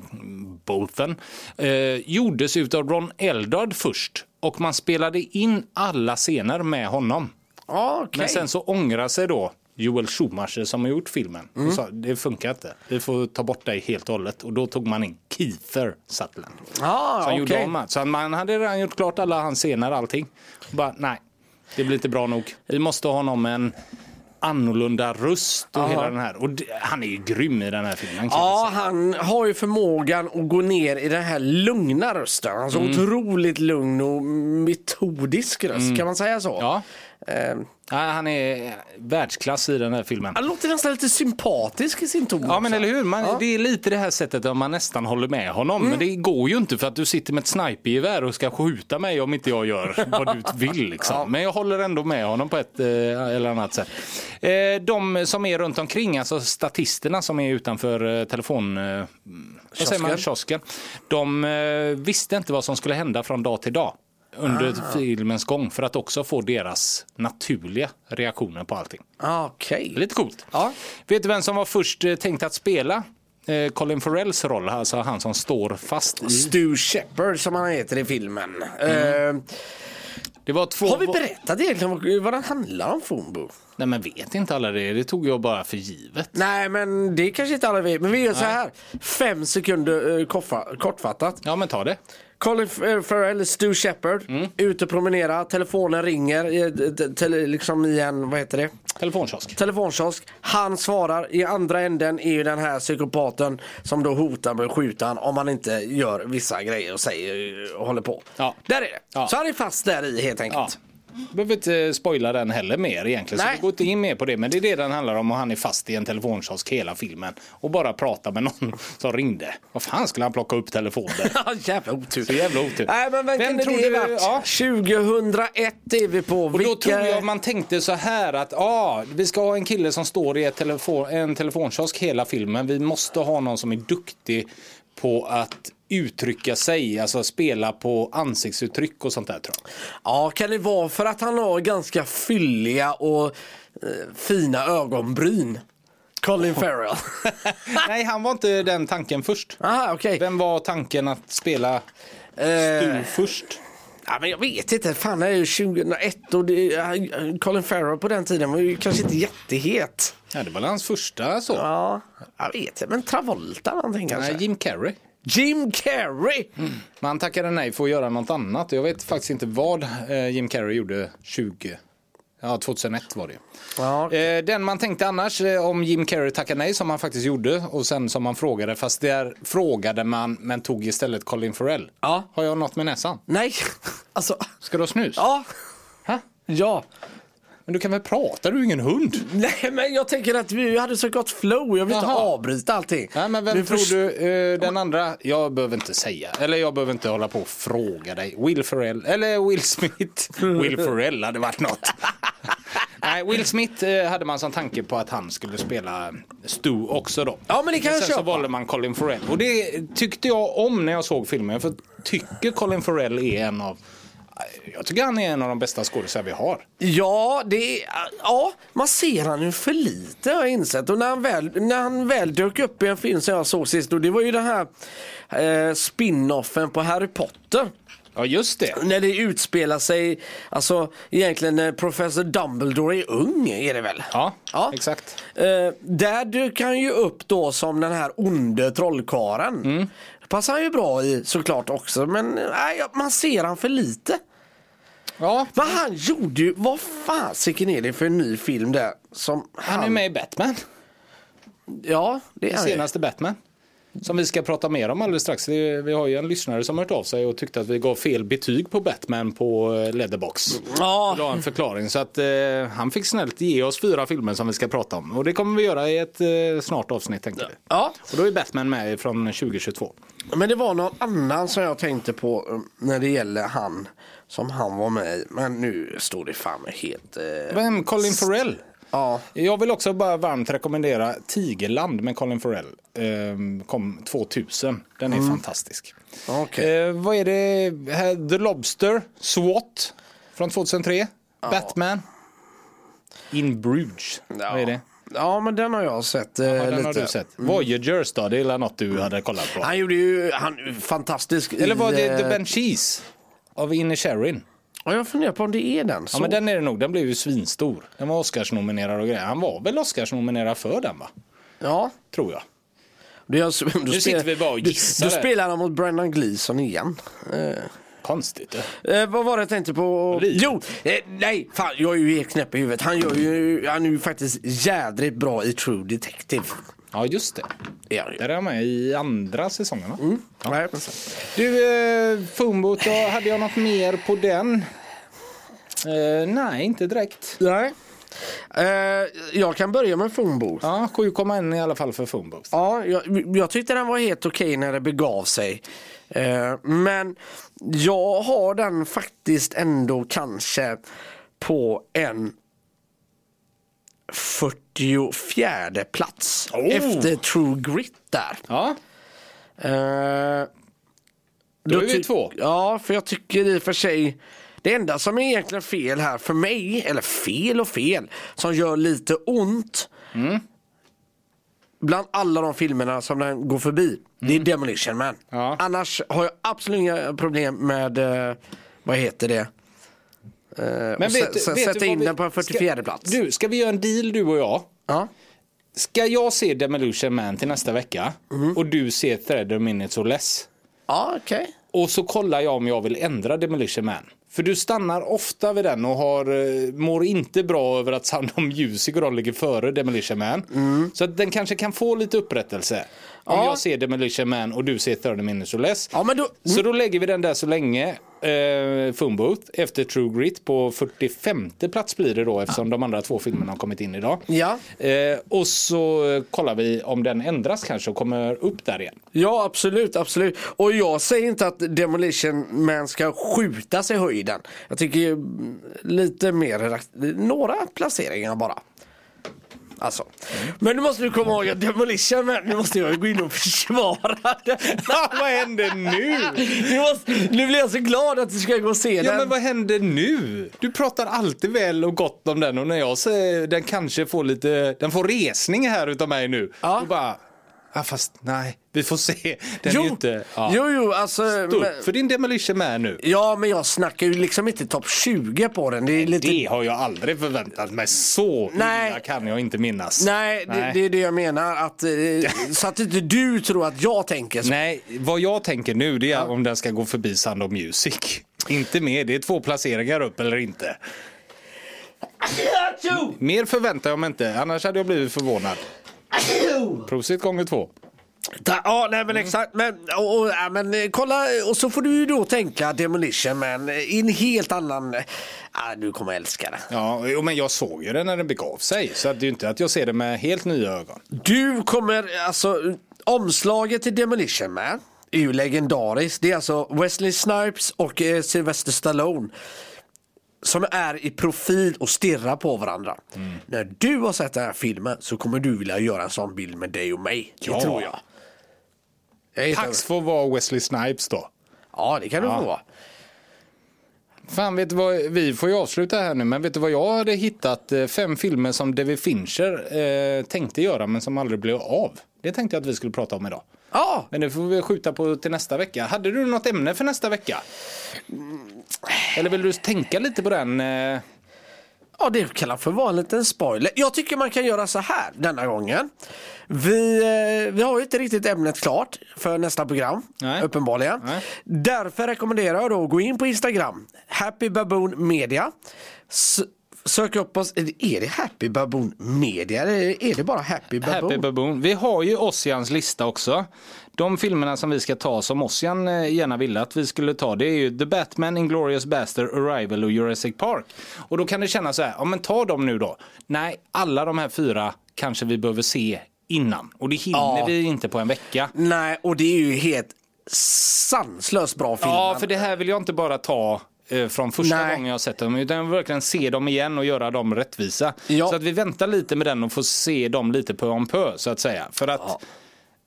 telefonboten. Eh, gjordes utav Ron Eldard först och man spelade in alla scener med honom.
Ja, okej.
Men sen så ångrar sig då Joel Schumacher som har gjort filmen. Och sa, det funkar inte, vi får ta bort dig helt och hållet. Och då tog man in Kiefer Sutherland.
Ah,
Som gjorde
okej.
om allt. Så man hade redan gjort klart alla hans scener allting. Och Bara, nej, det blir inte bra nog. Vi måste ha någon med en annorlunda röst och hela den här. Och det, han är ju grym i den här filmen. kan jag
Ja,
säga.
han har ju förmågan att gå ner i den här lugna rösten. Alltså
Mm.
otroligt lugn och metodisk röst, kan man säga så?
Mm. ja.
Eh,
Nej, han är världsklass i den här filmen.
han låter nästan lite sympatisk i sin ton.
Liksom. Ja Mm. men
också.
eller hur, man, det är lite det här sättet att man nästan håller med honom. Men det går ju inte för att du sitter med ett snipergevär och ska skjuta mig om inte jag gör vad du vill. Liksom. Men jag håller ändå med honom på ett eh, eller annat sätt. Eh, de som är runt omkring, alltså statisterna som är utanför eh, telefon... Eh, vad säger man, kiosken. De eh, visste inte vad som skulle hända från dag till dag under filmens gång för att också få deras naturliga reaktioner på allting.
Ah, Okej.
Lite coolt.
Ja.
Vet du vem som var först eh, tänkt att spela eh, Colin Farrells roll? Alltså han som står fast i...
Stu Shepard som han heter i
Mm.
filmen. Eh,
Det var två...
har vi berättat egentligen vad, vad den handlar om, Fumbo?
Nej men vet inte alla det. Det tog jag bara för givet.
Nej, men det kanske inte alla vet. Men vi gör så här. Fem sekunder eh, koffa- kortfattat.
Ja men ta det.
Colin F- eh, Farrell, Stu Shepard,
Mm.
ute och promenerar, telefonen ringer i, ett- ett- tele, liksom i en, vad heter det,
Telefonkiosk.
telefonkiosk. Han svarar, i andra änden är ju den här psykopaten som då hotar med att skjuta han om han inte gör vissa grejer och säger och håller på.
Ja.
Där är det.
Ja.
Så han är fast där i helt
Ja.
enkelt.
Behöver inte eh, spoila den heller mer egentligen. Så
Nej.
vi går inte in mer på det. Men det är det den handlar om och han är fast i en telefonkiosk hela filmen. Och bara pratar med någon som ringde. Vad fan skulle han plocka upp telefonen?
Ja. jävla otur.
Så jävla otur.
Nej men vem, kan det
du-
varit?
Ja.
2001 är vi på.
Och då tror jag man tänkte så här att ah, vi ska ha en kille som står i ett telefon, en telefonkiosk hela filmen. Vi måste ha någon som är duktig på att uttrycka sig, alltså spela på ansiktsuttryck och sånt där tror jag.
Ja, kan det vara för att han har ganska fylliga och eh, fina ögonbryn? Colin Farrell.
Nej, han var inte den tanken först.
Aha, okej.
Vem var tanken att spela Stu
Eh,
först?
ja, men jag vet inte. Fan, det är ju 2001 och det, eh, Colin Farrell på den tiden var ju kanske inte jättehet.
Ja, det var väl hans första så.
Ja, jag vet inte. Men Travolta någonting kanske?
Nej, Jim Carrey.
Jim Carrey!
Men han tackade nej för att göra något annat. Jag vet faktiskt inte vad eh, Jim Carrey gjorde 20... Ja, 2001 var det.
Ja,
Eh, Den man tänkte annars eh, om Jim Carrey tackade nej som han faktiskt gjorde och sen som man frågade fast där frågade man men tog istället Colin Farrell.
Ja.
Har jag något med näsan?
Nej, alltså,
Ska du ha snus?
ja.
Ha?
Ja.
Men du kan väl prata, du är ingen hund.
Nej, men jag tänker att vi hade så gott flow. Jag vill inte
Jaha.
avbryta allting.
Nej, men
Vi
vem tror
först-
du eh, den andra? Jag behöver inte säga, eller jag behöver inte hålla på och fråga dig. Will Ferrell, eller Will Smith. Will Ferrell hade varit något. Nej, Will Smith eh, hade man som tanke på att han skulle spela Stu också då.
Ja, men det kan jag
sen så
köpa.
valde man Colin Farrell. Och det tyckte jag om när jag såg filmen. För jag tycker Colin Farrell är en av, eh, jag tycker han är en av de bästa skådisar vi har.
Ja, det är, ja, man ser han ju för lite har jag insett. Och när han väl, när han väl dök upp i en film som jag såg sist, och det var ju den här eh, spin-offen på Harry Potter.
Ja, just det.
När det utspelar sig, alltså egentligen när professor Dumbledore är ung är det väl?
Ja, exakt.
Eh, där dök han ju upp då som den här onde trollkaren. Passar han ju bra i såklart också men eh, nej, man ser han för lite.
Ja,
Men han gjorde ju, vad fasiken är det för en ny film där? Som han,
han är med i Batman.
Ja, det är han ju.
senaste Batman. Som vi ska prata mer om alldeles strax. Vi, vi har ju en lyssnare som hört av sig och tyckte att vi gav fel betyg på Batman på eh, Letterbox.
Ja,
Och la en förklaring så att eh, han fick snällt ge oss fyra filmer som vi ska prata om. Och det kommer vi göra i ett eh, snart avsnitt tänkte vi.
ja,
Och då är Batman med från 2022.
men det var någon annan som jag tänkte på eh, när det gäller han som han var med i. Men nu står det fan mig helt... Eh,
Vem? Colin Farrell?
ja.
Jag vill också bara varmt rekommendera Tigerland med Colin Farrell. Ehm, kom 2000. Den
Mm.
är fantastisk.
Okej.
Eh, vad är det? Här, The Lobster, SWAT från 2003. Batman. In Bruges. Vad är det?
Ja, men den har jag sett. Eh,
Ja, den
lite.
har du sett. Voyagers då? Det är något du hade kollat på.
Han gjorde ju, han fantastisk i,
Eller var det
eh,
The Banshees? Av Inner Sherin.
Ja, jag funderar på om det är den.
Ja
Så.
men den är det nog. Den blev ju svinstor. Den var Oscarsnominerad och grejer. Han var väl Oscarsnominerad för den va?
Ja,
Tror jag.
det är, alltså- du nu
sitter vi bara och gissar
Då
här.
spelar han mot Brendan Gleeson igen. Eh,
Konstigt. eh.
Eh, vad var det jag tänkte på?
Livet.
Jo, eh, nej, fan jag är ju helt knäpp i huvudet. Han, gör ju, han är ju faktiskt jädrigt bra i True Detective.
Ja just det.
Är han ju.
Där är han med i andra säsongen va?
Nej, men-
Du, eh, Fumbot, då hade jag något mer på den? Eh, nej, inte direkt.
Nej. Eh, jag kan börja med Fumbo. Ja.
Ja, 7,1 i alla fall för Fumbot.
jag, jag tyckte den var helt okej när det begav sig. Eh, men jag har den faktiskt ändå kanske på en 44 plats.
Oh.
Efter True Grit där.
Ja,
Eh,
Då är vi
ty-
två.
Ja, för jag tycker i och för sig det enda som är egentligen fel här för mig, eller fel och fel, som gör lite ont
Mm.
bland alla de filmerna som den går förbi, det är Demolition Man.
Mm. Ja.
Annars har jag absolut inga problem med, eh, vad heter det? Eh, Men
men vet,
sen, sen
vet
sätta
du vad
in
vi-
den på en 44
ska,
plats.
Du, ska vi göra en deal du och jag?
Ja.
Ska jag se Demolition Man till nästa vecka
Mm.
och du ser Threader Minutes or Less?
Ja, okej.
Och så kollar jag om jag vill ändra Demolition Man. För du stannar ofta vid den och har, eh, mår inte bra över att Sound of Music och de ligger före Demolition Man. Så att den kanske kan få lite upprättelse. Om
Mm. Ja.
jag ser Demolition Man och du ser 30 Minutes or Less.
Ja, men då,
Så då lägger vi den där så länge, eh, Fumbooth, efter True Grit på 45 plats blir det då eftersom de andra två filmerna har kommit in idag.
Ja.
Eh, och så eh, kollar vi om den ändras kanske och kommer upp där igen.
Ja absolut, absolut. Och jag säger inte att Demolition Man ska skjutas i höjden. Jag tycker ju, mm, lite mer, rakt- några placeringar bara. Alltså. Men nu måste du komma ihåg att Demolition Man, nu måste jag gå in och försvara den.
Vad händer nu?
Nu, måste, nu blir jag så glad att du ska gå och se
Ja
den.
men vad händer nu? Du pratar alltid väl och gott om den och när jag säger den kanske får lite, den får resning här utav mig nu.
Ja.
Och bara, Ja, fast nej, vi får se. Den är
Jo,
ju inte... Ja.
jo, jo, alltså.
Stå
men-
upp för din Demolition Man nu.
Ja, men jag snackar ju liksom inte topp 20 på den. Det är lite...
Det har jag aldrig förväntat mig. Så
Nej.
illa kan jag inte minnas.
Nej, det, det är det jag menar. Att, eh, så att inte du tror att jag tänker så.
Nej, vad jag tänker nu det är om den ska gå förbi Sound of Music. Inte mer, det är två placeringar upp eller inte. Mer förväntar jag mig inte, annars hade jag blivit förvånad. Prosit gånger två.
Ta, ja, nej men exakt. Men, och, och, ja, men eh, kolla, och så får du ju då tänka Demolition Man eh, i en helt annan... eh, Ah, du kommer älska det.
Ja, jo, men jag såg ju den när den begav sig, så att det är ju inte att jag ser den med helt nya ögon.
Du kommer, alltså omslaget till Demolition Man är ju legendariskt. Det är alltså Wesley Snipes och eh, Sylvester Stallone. Som är i profil och stirrar på varandra. När du har sett den här filmen så kommer du vilja göra en sån bild med dig och mig.
Ja.
Det tror jag. jag är helt
Pax får vara Wesley Snipes då.
över- ja, det kan du få vara.
Fan, vet du vad, vi får ju avsluta här nu, men vet du vad jag hade hittat? eh, Fem filmer som David Fincher eh, tänkte göra, men som aldrig blev av. Det tänkte jag att vi skulle prata om idag.
Ja,
Men det får vi skjuta på till nästa vecka. Hade du något ämne för nästa vecka? Eller vill du tänka lite på den? eh?
ja, det kan för vara en liten spoiler. Jag tycker man kan göra så här denna gången. Vi, eh, vi har ju inte riktigt ämnet klart för nästa program,
Nej.
uppenbarligen.
Nej.
Därför rekommenderar jag då att gå in på Instagram, Happy Baboon Media. S- Sök upp oss, är det Happy Baboon Media eller är det bara Happy Baboon?
Happy Baboon. Vi har ju Ossians lista också. De filmerna som vi ska ta som Ossian eh, gärna ville att vi skulle ta det är ju The Batman, Inglourious Baster, Arrival och Jurassic Park. Och då kan det kännas så här, ja men ta dem nu då. Nej, alla de här fyra kanske vi behöver se innan. Och det hinner
Ja.
vi inte på en vecka.
Nej, och det är ju helt sanslöst bra filmer.
Ja, för det här vill jag inte bara ta eh, från första
Nej.
gången jag har sett dem, utan jag vill verkligen se dem igen och göra dem rättvisa.
Ja.
Så att vi väntar lite med den och får se dem lite på om pö, så att säga. För att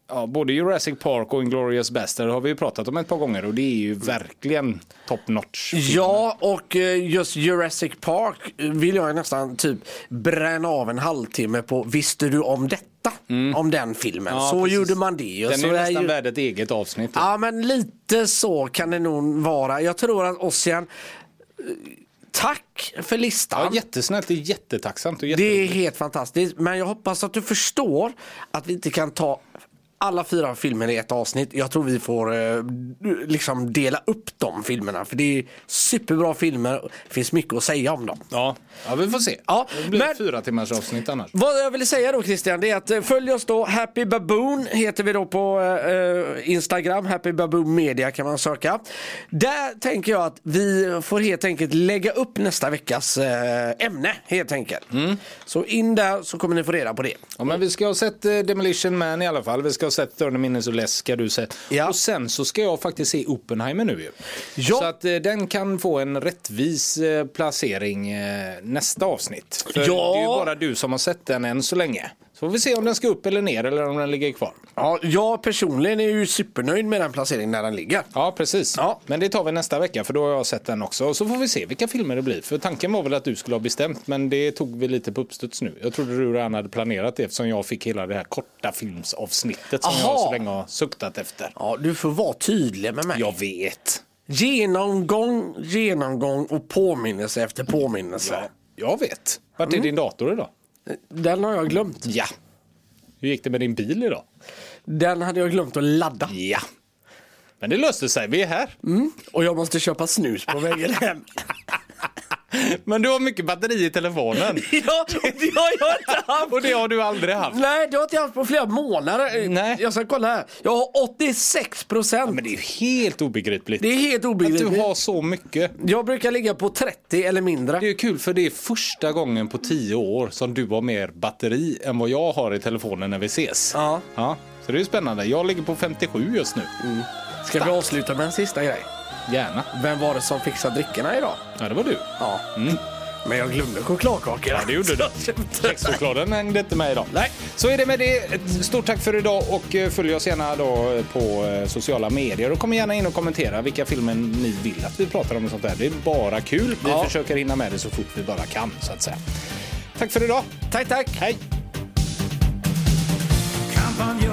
ja. både Jurassic Park och Inglourious Basterds har vi ju pratat om ett par gånger och det är ju verkligen top notch.
Ja, och eh, just Jurassic Park vill jag ju nästan typ bränna av en halvtimme på Visste du om detta? Om den filmen.
Mm. Ja,
så
precis.
gjorde man det. Och
Den
så
är ju
är
nästan
ju-
värd ett eget avsnitt.
Ja, men lite så kan det nog vara. Jag tror att Ossian, eh, tack för listan.
Ja, jättesnällt, det är jättetacksamt. Och jätte...
Det är helt fantastiskt. Men jag hoppas att du förstår att vi inte kan ta alla fyra filmer i ett avsnitt. Jag tror vi får eh, liksom dela upp de filmerna. För det är superbra filmer. Det finns mycket att säga om dem.
Ja. ja, vi får se.
Ja,
det blir
men-
ett fyra timmars avsnitt annars.
Vad jag ville säga då Christian, det är att eh, följ oss då. Happy Baboon heter vi då på eh, eh, Instagram. Happy Baboon Media kan man söka. Där tänker jag att vi får helt enkelt lägga upp nästa veckas eh, ämne helt enkelt. Så in där så kommer ni få reda på det.
Ja, men vi ska ha sett eh, Demolition Man i alla fall. Vi ska ha sett 30 Minutes or Less. Ska du sett.
Ja.
Och sen så ska jag faktiskt se Oppenheimer nu ju.
Ja.
Så att eh, den kan få en rättvis eh, placering eh, nästa avsnitt. För
Ja.
det är ju bara du som har sett den än så länge. Så får vi se om den ska upp eller ner eller om den ligger kvar.
Ja, jag personligen är ju supernöjd med den placeringen när den ligger.
Ja, precis.
Ja.
Men det tar vi nästa vecka för då har jag sett den också. Och så får vi se vilka filmer det blir. För tanken var väl att du skulle ha bestämt men det tog vi lite på uppstuds nu. Jag trodde du redan hade planerat det eftersom jag fick hela det här korta filmsavsnittet som jag
Aha.
så länge har suktat efter.
Ja, du får vara tydlig med mig.
Jag vet.
Genomgång, genomgång och påminnelse efter påminnelse.
Jag vet. Vart
Mm.
är din dator idag?
Den har jag glömt.
Ja. Hur gick det med din bil idag?
Den hade jag glömt att ladda.
Ja. Men det löste sig, vi är här.
Mm. Och jag måste köpa snus på vägen hem.
Men du har mycket batteri i telefonen.
ja, det har jag inte haft.
Och det har du aldrig haft.
Nej, det har inte jag haft på flera månader.
Nej.
Jag ska kolla här. Jag har 86 procent.
Men det är ju helt obegripligt.
det är helt
Att
obegripligt.
du har så mycket.
Jag brukar ligga på 30 eller mindre.
Det är ju kul för det är första gången på tio år som du har mer batteri än vad jag har i telefonen när vi ses.
Ja.
ja. Så det är ju spännande. Jag ligger på 57 just nu.
Ska vi avsluta med en sista grej?
Gärna.
Vem var det som fixade drickorna idag?
Ja, det var du.
Ja. Men jag glömde
Mm.
chokladkakorna.
Ja, det gjorde du. Kexchokladen hängde inte med idag. Nej. Så är det med det. Ett Stort tack för idag och eh, följ oss gärna då på eh, sociala medier och kom gärna in och kommentera vilka filmer ni vill att vi pratar om och sånt där. Det är bara kul. Vi
Ja.
försöker hinna med det så fort vi bara kan så att säga. Tack för idag.
Tack, tack.
Hej!
Campagne